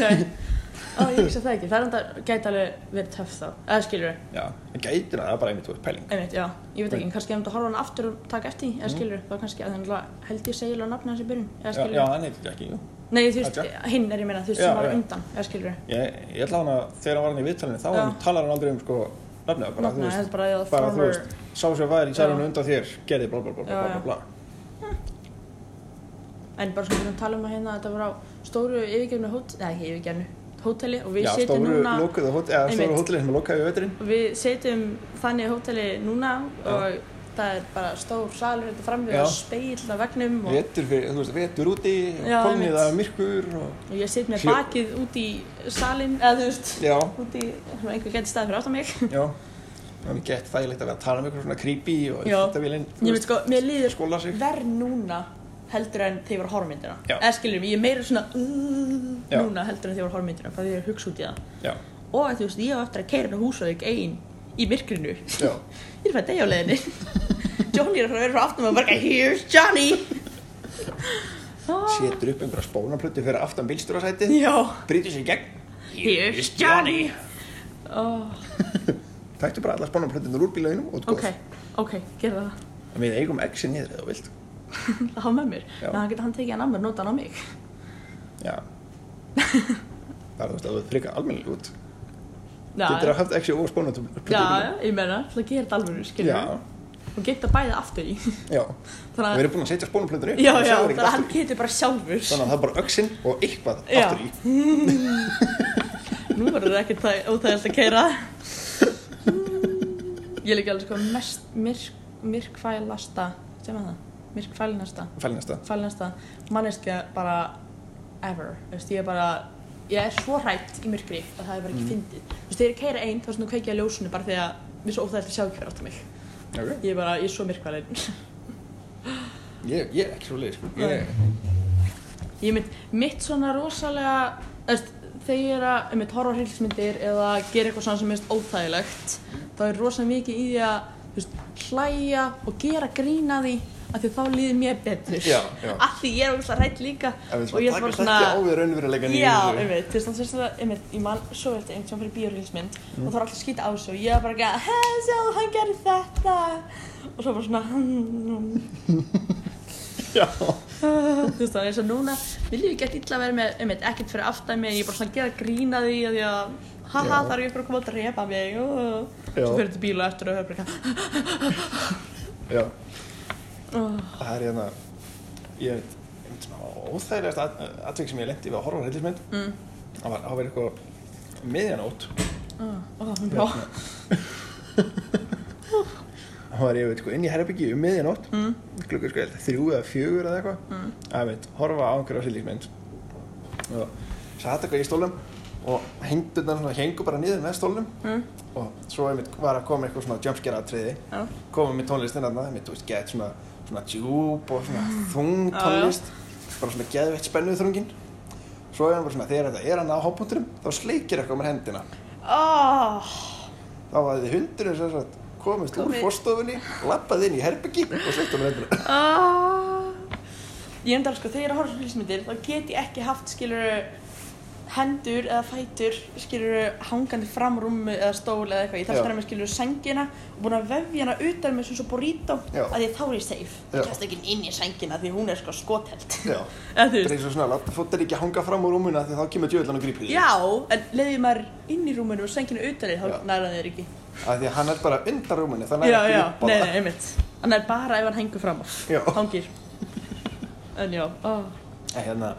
[SPEAKER 2] Nei, á, ég hugsa það ekki. Það er enda, gæti alveg verið töff þá. Eða skilur við,
[SPEAKER 1] Já, það gætir það, það er bara einmitt, þú veist, pæling.
[SPEAKER 2] einmitt, já. Ég veit ekki, kannski ef þú horfa hann aftur og taka eftir, því, eða skilur við, þá kannski að það er náttúrulega held ég segil á nafni hans í byrjun, eða
[SPEAKER 1] Mhm. Já,
[SPEAKER 2] skilur
[SPEAKER 1] já, hann heitir ekki, jú.
[SPEAKER 2] Nei, þú veist,
[SPEAKER 1] Jack.
[SPEAKER 2] hinn er ég meina, þú veist,
[SPEAKER 1] Já,
[SPEAKER 2] sem var
[SPEAKER 1] já.
[SPEAKER 2] undan, eða skilur við.
[SPEAKER 1] Ég, ég ætla hann að þegar hann var hann í viðtalinu, þá
[SPEAKER 2] Já.
[SPEAKER 1] hann talar hann aldrei um, sko, nafnið, bara, þú
[SPEAKER 2] Nafna,
[SPEAKER 1] veist,
[SPEAKER 2] þetta er bara að
[SPEAKER 1] bara, þú
[SPEAKER 2] former,
[SPEAKER 1] veist, sá sér væri í sælunum
[SPEAKER 2] Já.
[SPEAKER 1] undan þér, gerði bla bla bla bla
[SPEAKER 2] Já,
[SPEAKER 1] bla
[SPEAKER 2] já.
[SPEAKER 1] bla.
[SPEAKER 2] en bara svona við erum að tala um að hérna, þetta var á stóru yfirgefnu hóteli, eða ekki yfirgefnu, hóteli og við
[SPEAKER 1] Já,
[SPEAKER 2] sitjum
[SPEAKER 1] stóru
[SPEAKER 2] núna...
[SPEAKER 1] lokuðu hótelið, eða stóru
[SPEAKER 2] Einmitt.
[SPEAKER 1] hótelið sem er lokaði við veturinn.
[SPEAKER 2] Við setjum þannig hóteli núna og þetta er bara stór salur hérna þetta
[SPEAKER 1] Já.
[SPEAKER 2] framlega speil á vegnum og,
[SPEAKER 1] Vetur fyrir, þú veist, vetur úti
[SPEAKER 2] Já,
[SPEAKER 1] og komið
[SPEAKER 2] einmitt.
[SPEAKER 1] að myrkur og
[SPEAKER 2] og ég sit með
[SPEAKER 1] Hljó-
[SPEAKER 2] bakið út í salin eða þú veist,
[SPEAKER 1] já,
[SPEAKER 2] út í sem einhver getur staðið fyrir átt á
[SPEAKER 1] [laughs]
[SPEAKER 2] mig
[SPEAKER 1] já. Það er mikið gett þægilegt að vera að tala um eitthvað svona creepy og
[SPEAKER 2] Já.
[SPEAKER 1] þetta vil einn,
[SPEAKER 2] ég veit sko, mér líður sko
[SPEAKER 1] skóla sig.
[SPEAKER 2] verð núna heldur en þegar ég var að horfa á myndina
[SPEAKER 1] Já.
[SPEAKER 2] eða skiljum, ég er meira svona uh,
[SPEAKER 1] Já.
[SPEAKER 2] núna heldur en þegar ég var að horfa á myndina bara því ég er að hugsa út í það
[SPEAKER 1] Já,
[SPEAKER 2] og þú veist, ég á eftir að keira inn á húsavík ein í myrkrinu ég
[SPEAKER 1] já,
[SPEAKER 2] er fætt degi á leiðinni Johnny er að fara að vera frá aftum og bara here's Johnny Ah,
[SPEAKER 1] setur upp einhverja spónaplutti fyrir aftan bílstúrasætið,
[SPEAKER 2] já,
[SPEAKER 1] brýtur sér í gegn.
[SPEAKER 2] here's Johnny oh,
[SPEAKER 1] Tæktu bara allar spónapluttinur úr bílaðinum og þú
[SPEAKER 2] ok, ok, gerða það
[SPEAKER 1] góð. En Við eigum exi niður eða þú vilt.
[SPEAKER 2] það hafa með mér,
[SPEAKER 1] Já.
[SPEAKER 2] en hann getur hann tekið hann að mér nota hann á mig
[SPEAKER 1] Já.
[SPEAKER 2] [laughs]
[SPEAKER 1] það er þú veist að þú frika almennileg út.
[SPEAKER 2] já,
[SPEAKER 1] Getur að haft exi og spónapluttinur.
[SPEAKER 2] já, já, ég meina, það gerir þetta alveg skilur
[SPEAKER 1] Já,
[SPEAKER 2] og getur bæðið aftur í [laughs]
[SPEAKER 1] já.
[SPEAKER 2] þannig
[SPEAKER 1] Við
[SPEAKER 2] að,
[SPEAKER 1] erum búin að setja spónapluttinur upp.
[SPEAKER 2] já,
[SPEAKER 1] þú
[SPEAKER 2] já,
[SPEAKER 1] sjáir
[SPEAKER 2] þannig
[SPEAKER 1] ekkert
[SPEAKER 2] að
[SPEAKER 1] aftur
[SPEAKER 2] hann
[SPEAKER 1] í.
[SPEAKER 2] getur bara sjálfur
[SPEAKER 1] Þannig að það er bara öxin og eitthvað
[SPEAKER 2] Já.
[SPEAKER 1] aftur í.
[SPEAKER 2] nú verður það ekkert það óþægilegt að keira ég er ekki alveg sko mest myrk, myrkfælasta sem er það, myrkfælinasta
[SPEAKER 1] Fælinasta.
[SPEAKER 2] fælinasta manneskja bara ever, veist, ég er bara ég er svo hrætt í myrkri að það er bara ekki fyndið, þú veist, þegar ég keira einn þá er svona kveikja á ljósinu bara þegar mér er svo óþægilegt að sjá ekki fyrir aftur mig
[SPEAKER 1] Ok.
[SPEAKER 2] ég er bara, ég er svo myrkfælin
[SPEAKER 1] Ég, ég er ekki svo leiðis.
[SPEAKER 2] Nei. Ég mynd, mitt svona rosalega, eðst, þegar ég er að einmitt, horfa á hreilsmyndir eða gera eitthvað svona sem er óþægilegt, þá er rosalega mikið í því að þú veist, hlæja og gera grína því að því þá líður mér betur.
[SPEAKER 1] Já, já.
[SPEAKER 2] Af því ég er ógustlega hrætt líka
[SPEAKER 1] Ef við
[SPEAKER 2] og ég
[SPEAKER 1] svona
[SPEAKER 2] er bara
[SPEAKER 1] takast ekki á
[SPEAKER 2] svona...
[SPEAKER 1] við raunveruleikan í
[SPEAKER 2] Já,
[SPEAKER 1] þessu.
[SPEAKER 2] einmitt, þú veist, þannig að það, einmitt, ég man svo eftir einhvern tímann fyrir bíórhilsmynd
[SPEAKER 1] Mm.
[SPEAKER 2] og það var alltaf skýta á þessu og ég var bara ekki að, hei, sjá, hann gerir þetta og svo bara svona, hmm,
[SPEAKER 1] [laughs] Já.
[SPEAKER 2] þú veist þannig eins og núna mér lífi ekki að illa að vera með, um ekkert fyrir aftan mig en ég er bara svona að gera grína því að ég að haha
[SPEAKER 1] Já.
[SPEAKER 2] það er ykkur að koma að drepa mig og
[SPEAKER 1] Já.
[SPEAKER 2] svo fyrir til bíl og eftir og höfður ekki
[SPEAKER 1] Já. Það er hérna, ég veit, einn svona óþægilegast at- atvik sem ég lendi við að horfa á reyndismynd.
[SPEAKER 2] Mm.
[SPEAKER 1] Það var, það var eitthvað miðjanótt.
[SPEAKER 2] ah, og það hún bjó
[SPEAKER 1] Það var, ég veit, sko, inn í herrbyggju um miðjanótt. Mm. Klukkur sko, ég held, þrjú eða fjögur eða eitthvað. Mm. Það veit, horfa á einhverja reyndismynd. Og satt eitthvað í stólum og hengdunar svona hengu bara niður með stólum.
[SPEAKER 2] Mm.
[SPEAKER 1] Og svo einmitt var að koma eitthvað svona jumpscare atriði.
[SPEAKER 2] Já.
[SPEAKER 1] komum með tónlistin þarna, með, þú veist, gett svona, svona djúb og svona þung
[SPEAKER 2] Mm. Já, já.
[SPEAKER 1] tónlist, bara svona geðveitt spennuð þrungin. Svo er hann bara svona, þegar þetta er hann á hápunkturum, þá sleikir eitthvað með hendina.
[SPEAKER 2] oh,
[SPEAKER 1] Þá var þið hundurinn sem sagt, komist úr
[SPEAKER 2] Komið.
[SPEAKER 1] fórstofunni, lappað inn í herbyggi og sleikti með
[SPEAKER 2] [laughs]
[SPEAKER 1] hendina.
[SPEAKER 2] oh. ég endar sko þegar ég er að horfa á hljómsmyndir þá get ég ekki haft skilur hendur eða fætur skilur hangandi fram úr rúmi eða stól eða eitthvað, ég þarf
[SPEAKER 1] Já.
[SPEAKER 2] skilur með skilur sengina og búin að vefja hana utan með svona burrito
[SPEAKER 1] Já.
[SPEAKER 2] að ég þá er ég safe,
[SPEAKER 1] Já.
[SPEAKER 2] ég kast ekki inn í sengina því hún er sko skotheld [laughs]
[SPEAKER 1] Já.
[SPEAKER 2] eða
[SPEAKER 1] Það er
[SPEAKER 2] þú veist,
[SPEAKER 1] eins og svona, láta fóttir ekki að hanga fram úr rúmuna því þá kemur djöðlan og grípir því.
[SPEAKER 2] já en leiðið maður inn í rúminu og sengina utan því
[SPEAKER 1] Já.
[SPEAKER 2] þá næra þér ekki
[SPEAKER 1] Af því að hann er bara undan rúminu, þannig
[SPEAKER 2] já,
[SPEAKER 1] að
[SPEAKER 2] já,
[SPEAKER 1] upp á
[SPEAKER 2] nei,
[SPEAKER 1] það.
[SPEAKER 2] nei, einmitt hann er bara ef hann hengur fram af,
[SPEAKER 1] Já. [laughs]
[SPEAKER 2] hangir en já, oh.
[SPEAKER 1] En hérna,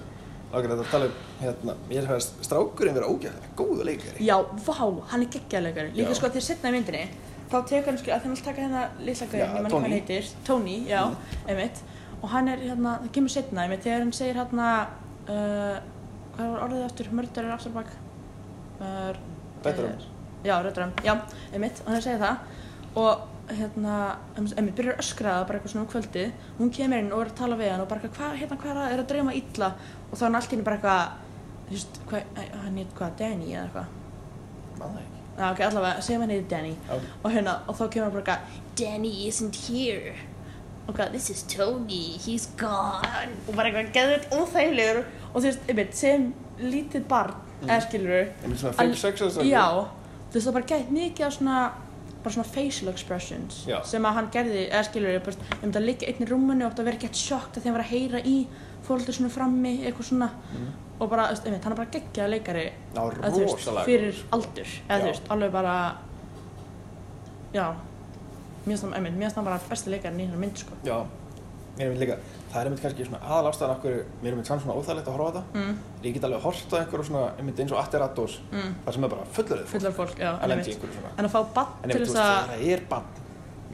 [SPEAKER 1] okkur þetta tala um, hérna, ég er að strákurinn vera ógæðlega góðu leikari.
[SPEAKER 2] Já, vá, hann er geggjarleikari Líka
[SPEAKER 1] Já.
[SPEAKER 2] sko að þeir setna í myndinni Þá tekur hann sko, að þeim alltaf taka hérna litla gauðin,
[SPEAKER 1] Já,
[SPEAKER 2] ég mann hvað hann
[SPEAKER 1] Tony. Mhm.
[SPEAKER 2] heitir Tony, já, einmitt Og hann er hérna, það kemur setna einmitt Þegar hann segir hérna uh, Hvað var orðið aftur, mördur er aftur bak uh,
[SPEAKER 1] Bedroom.
[SPEAKER 2] eh, Já, röddrum, já, einmitt Og hann segir það Og hérna, einmitt, byrjar að öskraða bara eitthvað svona um kvöldi Hún kemur inn og er að tala við hann Og bara eitthvað, hvað, hérna, hvað er að- er að dreyma illa Og þá er hann allt í henni bara eitthvað Þú veist, hvað, hann heit hvað, Danny eða eitthvað
[SPEAKER 1] Maður ekki.
[SPEAKER 2] Já, ok, allavega, segjum henni Danny
[SPEAKER 1] Já.
[SPEAKER 2] og hérna, og þá kemur hann bara eitthvað
[SPEAKER 3] Danny isn't here.
[SPEAKER 2] ok, this
[SPEAKER 3] This is Tony. He's gone.
[SPEAKER 2] og bara eitthvað geðvitt óþægilegur og þú veist, einmitt, sem lítið barn eða skilur
[SPEAKER 1] Einmitt svona 5-6 ára strákur.
[SPEAKER 2] Já, þú veist, það bara gætt mikið af svona bara svona facial expressions
[SPEAKER 1] Já.
[SPEAKER 2] sem að hann gerði, eða skilur ég bara, ég myndi að liggja einn í rúmunu og átti að vera gett sjokkt að þeim var að heyra í fólöldur svona frammi, eitthvað svona og bara, þú veist, einmitt, hann er bara geggjað leikari
[SPEAKER 1] Ná,
[SPEAKER 2] eða þú veist,
[SPEAKER 1] rosalega
[SPEAKER 2] fyrir aldur eða
[SPEAKER 1] Já.
[SPEAKER 2] þú veist, alveg bara já mér finnst hann, einmitt, mér finnst hann bara besti leikarinn í hérna mynd, sko
[SPEAKER 1] Já, mér er mynd líka Það er mynd kannski svona aðal ástæðan okkur Mér er mynd samt svona óþægilegt að horfa á þetta
[SPEAKER 2] mm,
[SPEAKER 1] Ég get alveg að horta einhverju svona einmitt eins og Ateratos
[SPEAKER 2] mm,
[SPEAKER 1] Það sem er bara fullurðið
[SPEAKER 2] fullar fólk, já,
[SPEAKER 1] að lendi í
[SPEAKER 2] einmitt
[SPEAKER 1] einhverju svona
[SPEAKER 2] en að fá bann
[SPEAKER 1] En
[SPEAKER 2] til
[SPEAKER 1] einmitt, þú
[SPEAKER 2] þess
[SPEAKER 1] veist,
[SPEAKER 2] að
[SPEAKER 1] það er bann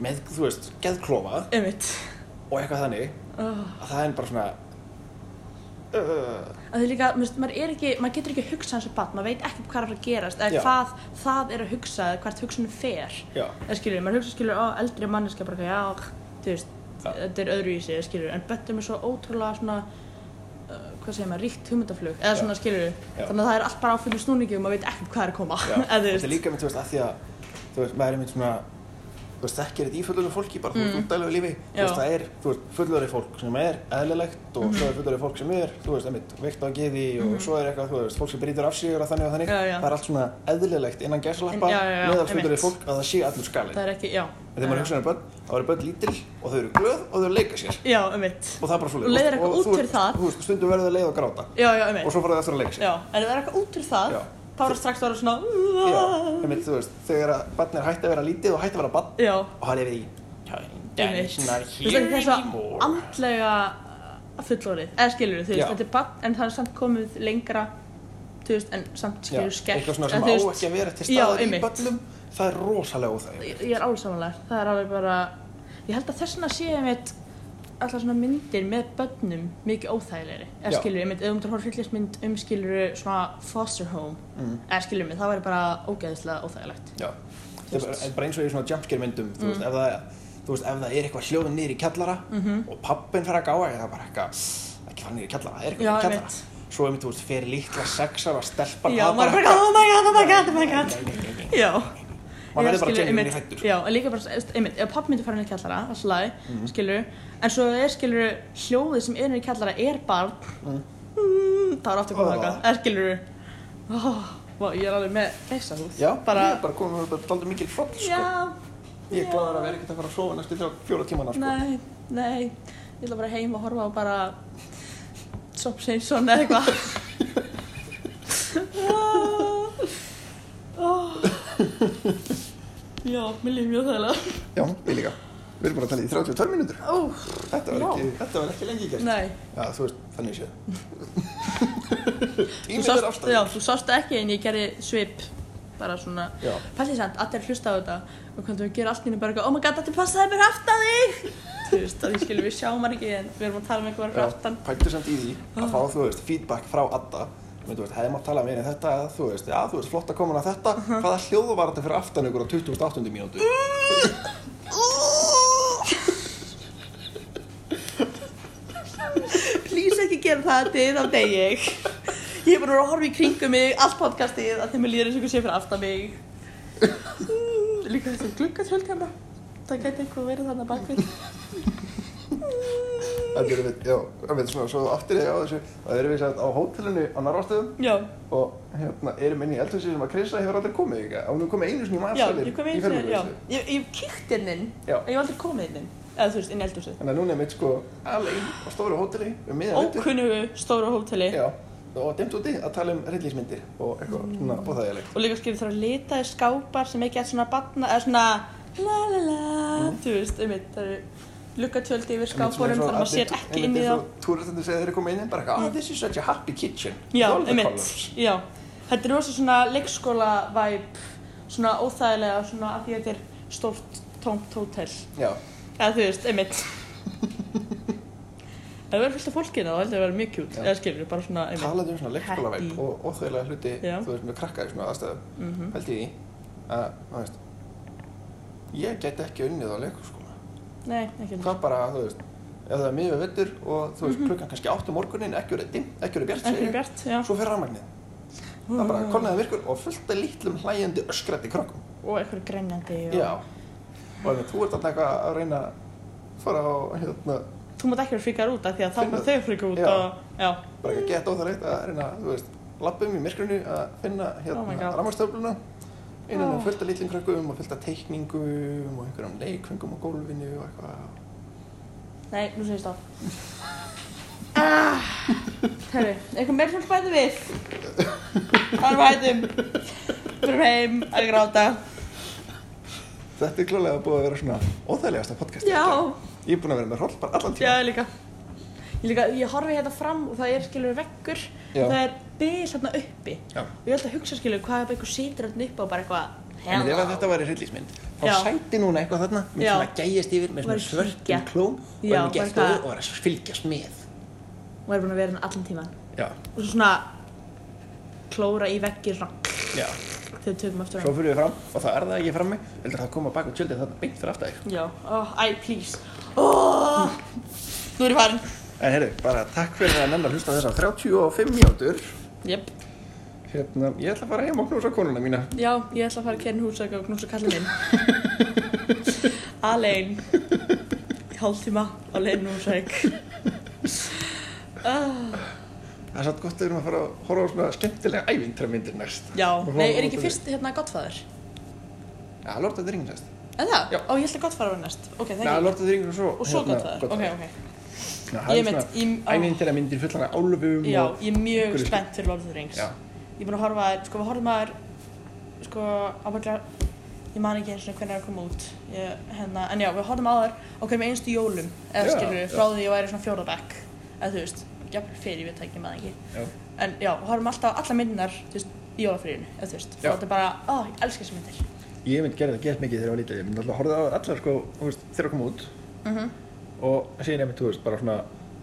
[SPEAKER 1] með, þú veist, geðklofa
[SPEAKER 2] einmitt
[SPEAKER 1] og eitthvað þannig
[SPEAKER 2] oh.
[SPEAKER 1] að það er bara svona uh,
[SPEAKER 2] að því líka, mér finnst, maður, er ekki, maður getur ekki að hugsa hans að bat, maður veit ekki hvað er að fara að gerast eða
[SPEAKER 1] Já.
[SPEAKER 2] hvað það er að hugsa eða hvert hugsunum fer
[SPEAKER 1] Já,
[SPEAKER 2] eða skilur, maður hugsa skilur, ó, eldri manneska bara, eitthvað, já, þú veist
[SPEAKER 1] Já.
[SPEAKER 2] þetta er öðru í sig, skilur, en bett er mér svo ótrúlega svona uh, hvað segir maður, ríkt hugmyndaflug eða
[SPEAKER 1] Já.
[SPEAKER 2] svona, skilur,
[SPEAKER 1] Já.
[SPEAKER 2] þannig að það er allt bara á fyrir snúningi og maður veit ekki hvað er að koma [laughs]
[SPEAKER 1] já.
[SPEAKER 2] eða þú
[SPEAKER 1] þetta er
[SPEAKER 2] veist,
[SPEAKER 1] líka með, þú veist, að því að þú veist, maður er með svona þú veist, þekkir þetta í fullöðu fólki, bara þú
[SPEAKER 2] Mm.
[SPEAKER 1] veist, út dælu lífi þú
[SPEAKER 2] Já. Mm-hmm.
[SPEAKER 1] veist, það er, þú veist, fullöðu fólk sem er eðlilegt og svo er fullöðu fólk sem er þú veist, einmitt, veikt á geði og svo er eitthvað, þú veist, fólk sem brýtur af sig og þannig og þannig
[SPEAKER 2] Já, já.
[SPEAKER 1] það er allt svona eðlilegt innan
[SPEAKER 2] En-
[SPEAKER 1] gæsalappa
[SPEAKER 2] já, já, já,
[SPEAKER 1] meðal fullöðu
[SPEAKER 2] einmitt.
[SPEAKER 1] fólk að það sé allur skalinn
[SPEAKER 2] það er ekki, já
[SPEAKER 1] En þegar maður hugsa um börn, þá eru börn lítil og þau eru glöð og þau leika sér
[SPEAKER 2] já, einmitt,
[SPEAKER 1] og það er bara svo
[SPEAKER 2] Og leiðir eitthvað út fyrir það.
[SPEAKER 1] Þú veist, stundum verður þau leið og gráta
[SPEAKER 2] já, já,
[SPEAKER 1] og
[SPEAKER 2] einmitt
[SPEAKER 1] svo fara þau eftir að leika sér.
[SPEAKER 2] já, en ef það er eitthvað út fyrir það
[SPEAKER 1] Já.
[SPEAKER 2] þá er það strax að vera
[SPEAKER 1] Já,
[SPEAKER 2] svona
[SPEAKER 1] einmitt, þú veist, þegar að barn er hætt að vera lítið og hætt að vera barn
[SPEAKER 2] já,
[SPEAKER 1] og hann er við í
[SPEAKER 2] Einmitt.
[SPEAKER 1] Dance not
[SPEAKER 2] Þú veist
[SPEAKER 1] here
[SPEAKER 2] ekki þessu
[SPEAKER 1] anymore.
[SPEAKER 2] andlega uh, fullorðið, eða skilur þú veist,
[SPEAKER 1] Já.
[SPEAKER 2] þetta er bann, en það er samt komið lengra, þú veist, en samt
[SPEAKER 1] Já,
[SPEAKER 2] skilur skert.
[SPEAKER 1] Eitthvað svona
[SPEAKER 2] en
[SPEAKER 1] sem
[SPEAKER 2] þú
[SPEAKER 1] á
[SPEAKER 2] veist,
[SPEAKER 1] ekki að vera til
[SPEAKER 2] Já,
[SPEAKER 1] staðar í
[SPEAKER 2] einmitt.
[SPEAKER 1] börnum, það er rosalega óþæg.
[SPEAKER 2] Ég ég er alveg samanlega, það er alveg bara, ég held að þess vegna sé ég mitt alltaf svona myndir með börnum mikið óþægilegri, eða
[SPEAKER 1] Já.
[SPEAKER 2] skilur ég mitt, ef þú myndir horfa fyllist mynd um skilur svona foster home,
[SPEAKER 1] Mm.
[SPEAKER 2] eða skilur mig, það væri bara ógeðislega óþægilegt.
[SPEAKER 1] Já, það er bara- er bara eins og í svona jumpscare myndum, þú
[SPEAKER 2] Mm.
[SPEAKER 1] veist, ef það, þú veist, ef það er eitthvað hljóðin niður í kjallara
[SPEAKER 2] Mhm.
[SPEAKER 1] og pappin fer að gáa, það er bara eitthvað, ekki fara niður í kjallara, það er eitthvað
[SPEAKER 2] Já,
[SPEAKER 1] niður í kjallara.
[SPEAKER 2] einmitt.
[SPEAKER 1] Svo einmitt, þú veist, fer litla sexara stelpan
[SPEAKER 2] Já,
[SPEAKER 1] að
[SPEAKER 2] maður er bara, oh my god, oh my god, oh my god.
[SPEAKER 1] Nei,
[SPEAKER 2] Já
[SPEAKER 1] Maður
[SPEAKER 2] Ég
[SPEAKER 1] verður bara
[SPEAKER 2] skilur,
[SPEAKER 1] genuinely
[SPEAKER 2] einmitt,
[SPEAKER 1] hræddur.
[SPEAKER 2] Já, en líka bara, veist, einmitt, ef pappi myndi fara inn í kjallara, alltaf lagi,
[SPEAKER 1] Mhm.
[SPEAKER 2] skilur En svo er, skilur, hljóðið sem er inn í kjallara er barn mm, Það er ofta komið
[SPEAKER 1] Mhm. Ó.
[SPEAKER 2] þangað, eða skilur oh, Vá, ég er alveg með reysa húð
[SPEAKER 1] Já,
[SPEAKER 2] bara,
[SPEAKER 1] ég er bara komið með bara daldur mikil froll, sko.
[SPEAKER 2] Já,
[SPEAKER 1] Ég er gladur að vera ekkert að fara að sofa næstu þrjá fjóra tímana, sko.
[SPEAKER 2] nei, nei Ég ætla bara heim að horfa á bara Sopp Seinsson
[SPEAKER 1] [laughs]
[SPEAKER 2] eða eitthvað Ó, ó. Já, mér líf mjög þægilega
[SPEAKER 1] Já, ég líka. Við erum bara að tala í 32 mínútur.
[SPEAKER 2] Ó,
[SPEAKER 1] Þetta var
[SPEAKER 2] Já.
[SPEAKER 1] ekki, þetta var ekki lengi gert.
[SPEAKER 2] nei
[SPEAKER 1] Já, þú veist, þannig
[SPEAKER 2] [laughs]
[SPEAKER 1] séð.
[SPEAKER 2] Þú
[SPEAKER 1] Tímið er
[SPEAKER 2] sást,
[SPEAKER 1] afstæður.
[SPEAKER 2] já, þú sást ekki en ég gerði svip bara svona
[SPEAKER 1] Já.
[SPEAKER 2] Pallið samt, allir hlusta á þetta og hvernig við gerum allt í henni bara eitthvað Oh my god, þetta passaði mér aftan þig [laughs] Þú veist, þannig skilur við sjáum hann ekki en við erum að tala um eitthvað fyrir aftan
[SPEAKER 1] pæltu samt í því
[SPEAKER 2] Ah.
[SPEAKER 1] að fá, þú veist, feedback frá Adda Men, þú veist, hefði maður talað meira en þetta eða þú veist, já, þú veist, flott að komin að þetta hvaða hljóðu var þetta fyrir aftan ykkur á 28. mínútu
[SPEAKER 2] Mm. Please ekki gera það til þá deg ég Ég er bara að horfa í kringum mig allt podcastið að þeim er líður eins og einhver sé fyrir aftan mig Mm, Líka þetta gluggatjöld hérna Það gæti eitthvað verið þarna bakvið
[SPEAKER 1] Þetta eru við, já, við veit, svona, svo aftur ég á þessu það eru við sætt á hótelinu á narrástöðum
[SPEAKER 2] Já,
[SPEAKER 1] og hérna, erum inn í eldhúsi sem að Krissa hefur aldrei komið ykkar og hún er komið einu sinni í
[SPEAKER 2] já,
[SPEAKER 1] maðurstælir
[SPEAKER 2] ég kom einu sinni, já Ég, ég kíkti inn inn,
[SPEAKER 1] Já.
[SPEAKER 2] en ég hef aldrei komið inn inn Eða þú veist, inn í eldhúsið
[SPEAKER 1] Þannig að núna er mitt sko alveg á stóru hóteli um miðan vetur.
[SPEAKER 2] ókunnugu stóru hóteli
[SPEAKER 1] Já, og dimt úti að tala um rillismyndir og eitthvað
[SPEAKER 2] Mm.
[SPEAKER 1] svona óþægilegt
[SPEAKER 2] og líka skilur þarf að lita í skápar sem ekki er svona batna, eða svona la la la,
[SPEAKER 1] Mm.
[SPEAKER 2] þú veist, einmitt það eru lukkatjöldi yfir skápunum þannig að maður sér ekki inn í þá Mm.
[SPEAKER 1] Túristendur segja þeir eru komið inn en bara eitthvað, ah, this is such a happy kitchen
[SPEAKER 2] já,
[SPEAKER 1] All the
[SPEAKER 2] einmitt,
[SPEAKER 1] colours."
[SPEAKER 2] já þetta er rosa svona leikskóla væp svona óþægilega, svona af því að þetta er stórt tómt hótel
[SPEAKER 1] Já,
[SPEAKER 2] eða þú veist, einmitt
[SPEAKER 1] [laughs]
[SPEAKER 2] ef það verður fullt af fólkinu þá held ég að vera mjög kjút
[SPEAKER 1] Já.
[SPEAKER 2] eða skilur, bara svona, einmitt
[SPEAKER 1] talaðu um svona leikskólavæp
[SPEAKER 2] Happy.
[SPEAKER 1] og óþægilega hluti
[SPEAKER 2] Já.
[SPEAKER 1] þú veist með krakka í svona aðstæðum
[SPEAKER 2] mm
[SPEAKER 1] held ég í að, þú veist ég get ekki unnið á leikskóla
[SPEAKER 2] nei, ekki
[SPEAKER 1] það bara, þú veist ef það er miður vettur og þú veist klukkan kannski 8 morgunin, ekki verið dimm, ekki verið bjart
[SPEAKER 2] Mhm. ekki
[SPEAKER 1] segir ég.
[SPEAKER 2] bjart, já Ah.
[SPEAKER 1] svo fer rafmagnið það bara kolnaði virkur og fullt af lítlum hlæjandi öskrandi krakkum
[SPEAKER 2] og eitthvað grænjandi og...
[SPEAKER 1] já og ef þú ert alltaf eitthvað að reyna að fara á hérna
[SPEAKER 2] þú mátt ekki vera fríkar út af því að þá
[SPEAKER 1] Finna-
[SPEAKER 2] maður þau fríkar út
[SPEAKER 1] Já.
[SPEAKER 2] og já,
[SPEAKER 1] bara ekki að geta óþarlegt að reyna þú veist lappum í myrkrinu að finna
[SPEAKER 2] Oh my
[SPEAKER 1] hérna
[SPEAKER 2] God.
[SPEAKER 1] oh rammarstöfluna innan
[SPEAKER 2] Oh.
[SPEAKER 1] og fullt af litlum krökkum og fullt af teikningum og einhverjum leikfengum á gólfinu og eitthvað
[SPEAKER 2] nei, nú séu ég stopp ah, herru, eitthvað meir sem vilt bæta við það er hættum fyrir heim að gráta
[SPEAKER 1] þetta er klálega búið að vera svona óþægilegasta podcast
[SPEAKER 2] já,
[SPEAKER 1] ég er búin að vera með roll bara allan
[SPEAKER 2] já,
[SPEAKER 1] tíma
[SPEAKER 2] ég líka ég líka, ég horfi hérna fram og það er skilur vekkur
[SPEAKER 1] Já.
[SPEAKER 2] og það er bil hérna uppi
[SPEAKER 1] Já.
[SPEAKER 2] og ég held að hugsa skilur hvað ef einhver situr hérna uppi og bara eitthvað
[SPEAKER 1] En ef að
[SPEAKER 3] Hello.
[SPEAKER 1] þetta væri hryllingsmynd, þá
[SPEAKER 2] Já.
[SPEAKER 1] sæti núna eitthvað þarna, myndi
[SPEAKER 2] Já.
[SPEAKER 1] svona gæjast yfir með svona
[SPEAKER 2] Væri
[SPEAKER 1] svörtum
[SPEAKER 2] fylgja.
[SPEAKER 1] klóm og
[SPEAKER 2] Já,
[SPEAKER 1] hefði
[SPEAKER 2] bara
[SPEAKER 1] gert
[SPEAKER 2] hvað-
[SPEAKER 1] það og var að fylgjast með.
[SPEAKER 2] og er búin að vera hann allan tíman
[SPEAKER 1] Já,
[SPEAKER 2] og svo svona klóra í veggir svona
[SPEAKER 1] já.
[SPEAKER 2] þegar við tökum eftir
[SPEAKER 1] Svo
[SPEAKER 2] hann
[SPEAKER 1] fyrir við fram og það er það ekki frammi, heldur það að koma bak á tjöldið þarna beint fyrir aftur þig.
[SPEAKER 2] já, oh, æ, please oh, nú er ég farin
[SPEAKER 1] En heyrðu, bara takk fyrir að nenn að hlusta á þessar 35 mínútur.
[SPEAKER 2] yep.
[SPEAKER 1] Hérna, ég ætla að fara heim og knúsa konuna mína.
[SPEAKER 2] já, ég ætla að fara að kerna húsæk og knúsa kallið minn [laughs] alein í hálftíma á leiðinu húsæk oh,
[SPEAKER 1] Það er satt gott að við erum að fara að horfa á svona skemmtilega ævintramyndir næst.
[SPEAKER 2] já,
[SPEAKER 1] Og horfa
[SPEAKER 2] nei,
[SPEAKER 1] á
[SPEAKER 2] er ekki
[SPEAKER 1] þetta.
[SPEAKER 2] fyrst hérna gottfæður
[SPEAKER 1] Já, Lord of the Rings næst.
[SPEAKER 2] en það?
[SPEAKER 1] Já.
[SPEAKER 2] ó, ég ætla gottfæður næst ok, það
[SPEAKER 1] Já,
[SPEAKER 2] er ekki
[SPEAKER 1] Lord of the Rings og svo.
[SPEAKER 2] og svo
[SPEAKER 1] hérna,
[SPEAKER 2] gottfæður, ok,
[SPEAKER 1] Godfather.
[SPEAKER 2] ok
[SPEAKER 1] Já, það
[SPEAKER 2] Ég
[SPEAKER 1] er
[SPEAKER 2] mitt, ég-
[SPEAKER 1] svona ævintramyndir fullan af álfum
[SPEAKER 2] Já,
[SPEAKER 1] og...
[SPEAKER 2] ég er mjög
[SPEAKER 1] Hverju-
[SPEAKER 2] spennt fyrir Lord of the Rings
[SPEAKER 1] Já.
[SPEAKER 2] Ég er búin að horfa að, sko, við horfum að sko, ábygglega ég man ekki eins og hvernig það er að koma út ég, hérna, en já, við horfum að þar á hverjum einstu jólum, eða
[SPEAKER 1] Já,
[SPEAKER 2] skilur
[SPEAKER 1] já.
[SPEAKER 2] frá því ég væri svona fjórðabæk eða þú veist, jafnvel fyrir, ég veit það ekki, ég man það ekki
[SPEAKER 1] Já.
[SPEAKER 2] en já, við horfum alltaf á allar myndinar þú veist, í jólafríðinu, eða þú
[SPEAKER 1] Já.
[SPEAKER 2] veist þá þetta er bara, ó, ég elska þessar myndir
[SPEAKER 1] Ég mynd gerði það gett mikið þegar ég var lítið. Ég mynd alltaf að horfa á allar sko, þú veist, þegar að koma út. Og síðan ég mynd, þú veist, bara svona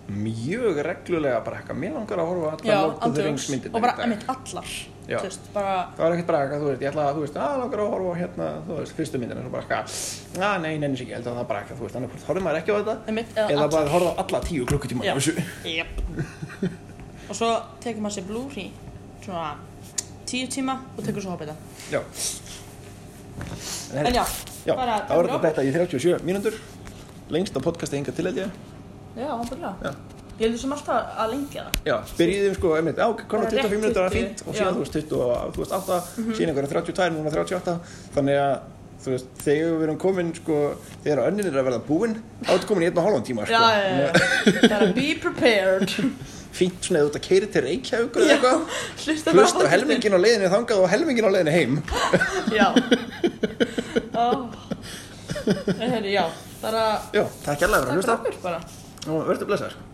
[SPEAKER 1] mjög reglulega bara eitthvað. Mér langar að horfa á
[SPEAKER 2] já,
[SPEAKER 1] allar Lord of the Rings
[SPEAKER 2] andjóks,
[SPEAKER 1] myndirnar
[SPEAKER 2] og bara,
[SPEAKER 1] í dag.
[SPEAKER 2] emitt, allar
[SPEAKER 1] Já.
[SPEAKER 2] þú veist, bara,
[SPEAKER 1] Það var ekkert bara eitthvað, þú veist, ég ætla að, þú veist, að langar að horfa á hérna, þú veist, fyrstu myndina, svo bara eitthvað, að nei, neins ekki, ég held að það bara eitthvað, þú veist, annað hvort horfði maður ekki á þetta,
[SPEAKER 2] emitt,
[SPEAKER 1] eða bara horfði á alla tíu klukkutíma
[SPEAKER 2] Já.
[SPEAKER 1] á þessu. [laughs]
[SPEAKER 2] Jep. og svo tekur maður sér blúri svona tíu tíma og tekur svo hoppita.
[SPEAKER 1] Já.
[SPEAKER 2] En já,
[SPEAKER 1] já,
[SPEAKER 2] bara
[SPEAKER 1] það var þetta þetta í 37 mínútur, lengst á podcasti hinga til, held ég.
[SPEAKER 2] Já,
[SPEAKER 1] Já.
[SPEAKER 2] ábyggilega. Ég heldur sem alltaf að lengja það.
[SPEAKER 1] Já, byrjiðum sko, einmitt, á, konar
[SPEAKER 2] Bara
[SPEAKER 1] 25
[SPEAKER 2] rétt
[SPEAKER 1] minútur að
[SPEAKER 2] 20,
[SPEAKER 1] fínt og síðan,
[SPEAKER 2] já. Mhm.
[SPEAKER 1] þú veist, 28, þú veist, 8, síðan einhverja 32, núna 38, þannig að, þú veist, þegar við erum komin, sko, þegar önnin er að verða búin, þá ertu komin í einn og hálfan tíma, sko.
[SPEAKER 2] Já, já, já, já. Bara be
[SPEAKER 1] [laughs]
[SPEAKER 2] prepared.
[SPEAKER 1] Fínt svona eða þú ert að keiri til Reykjavíkur eða
[SPEAKER 2] Já,
[SPEAKER 1] eitthvað,
[SPEAKER 2] Hlusta bara
[SPEAKER 1] hlust á helmingin á leiðinni þangað og helmingin á leiðinni heim. [laughs]
[SPEAKER 2] podcastið. Já. Ó. En hérna, já, bara...
[SPEAKER 1] Já, takk hérlega fyrir að
[SPEAKER 2] Takk fyrir
[SPEAKER 1] hlusta
[SPEAKER 2] okkur bara.
[SPEAKER 1] og verður blessaður.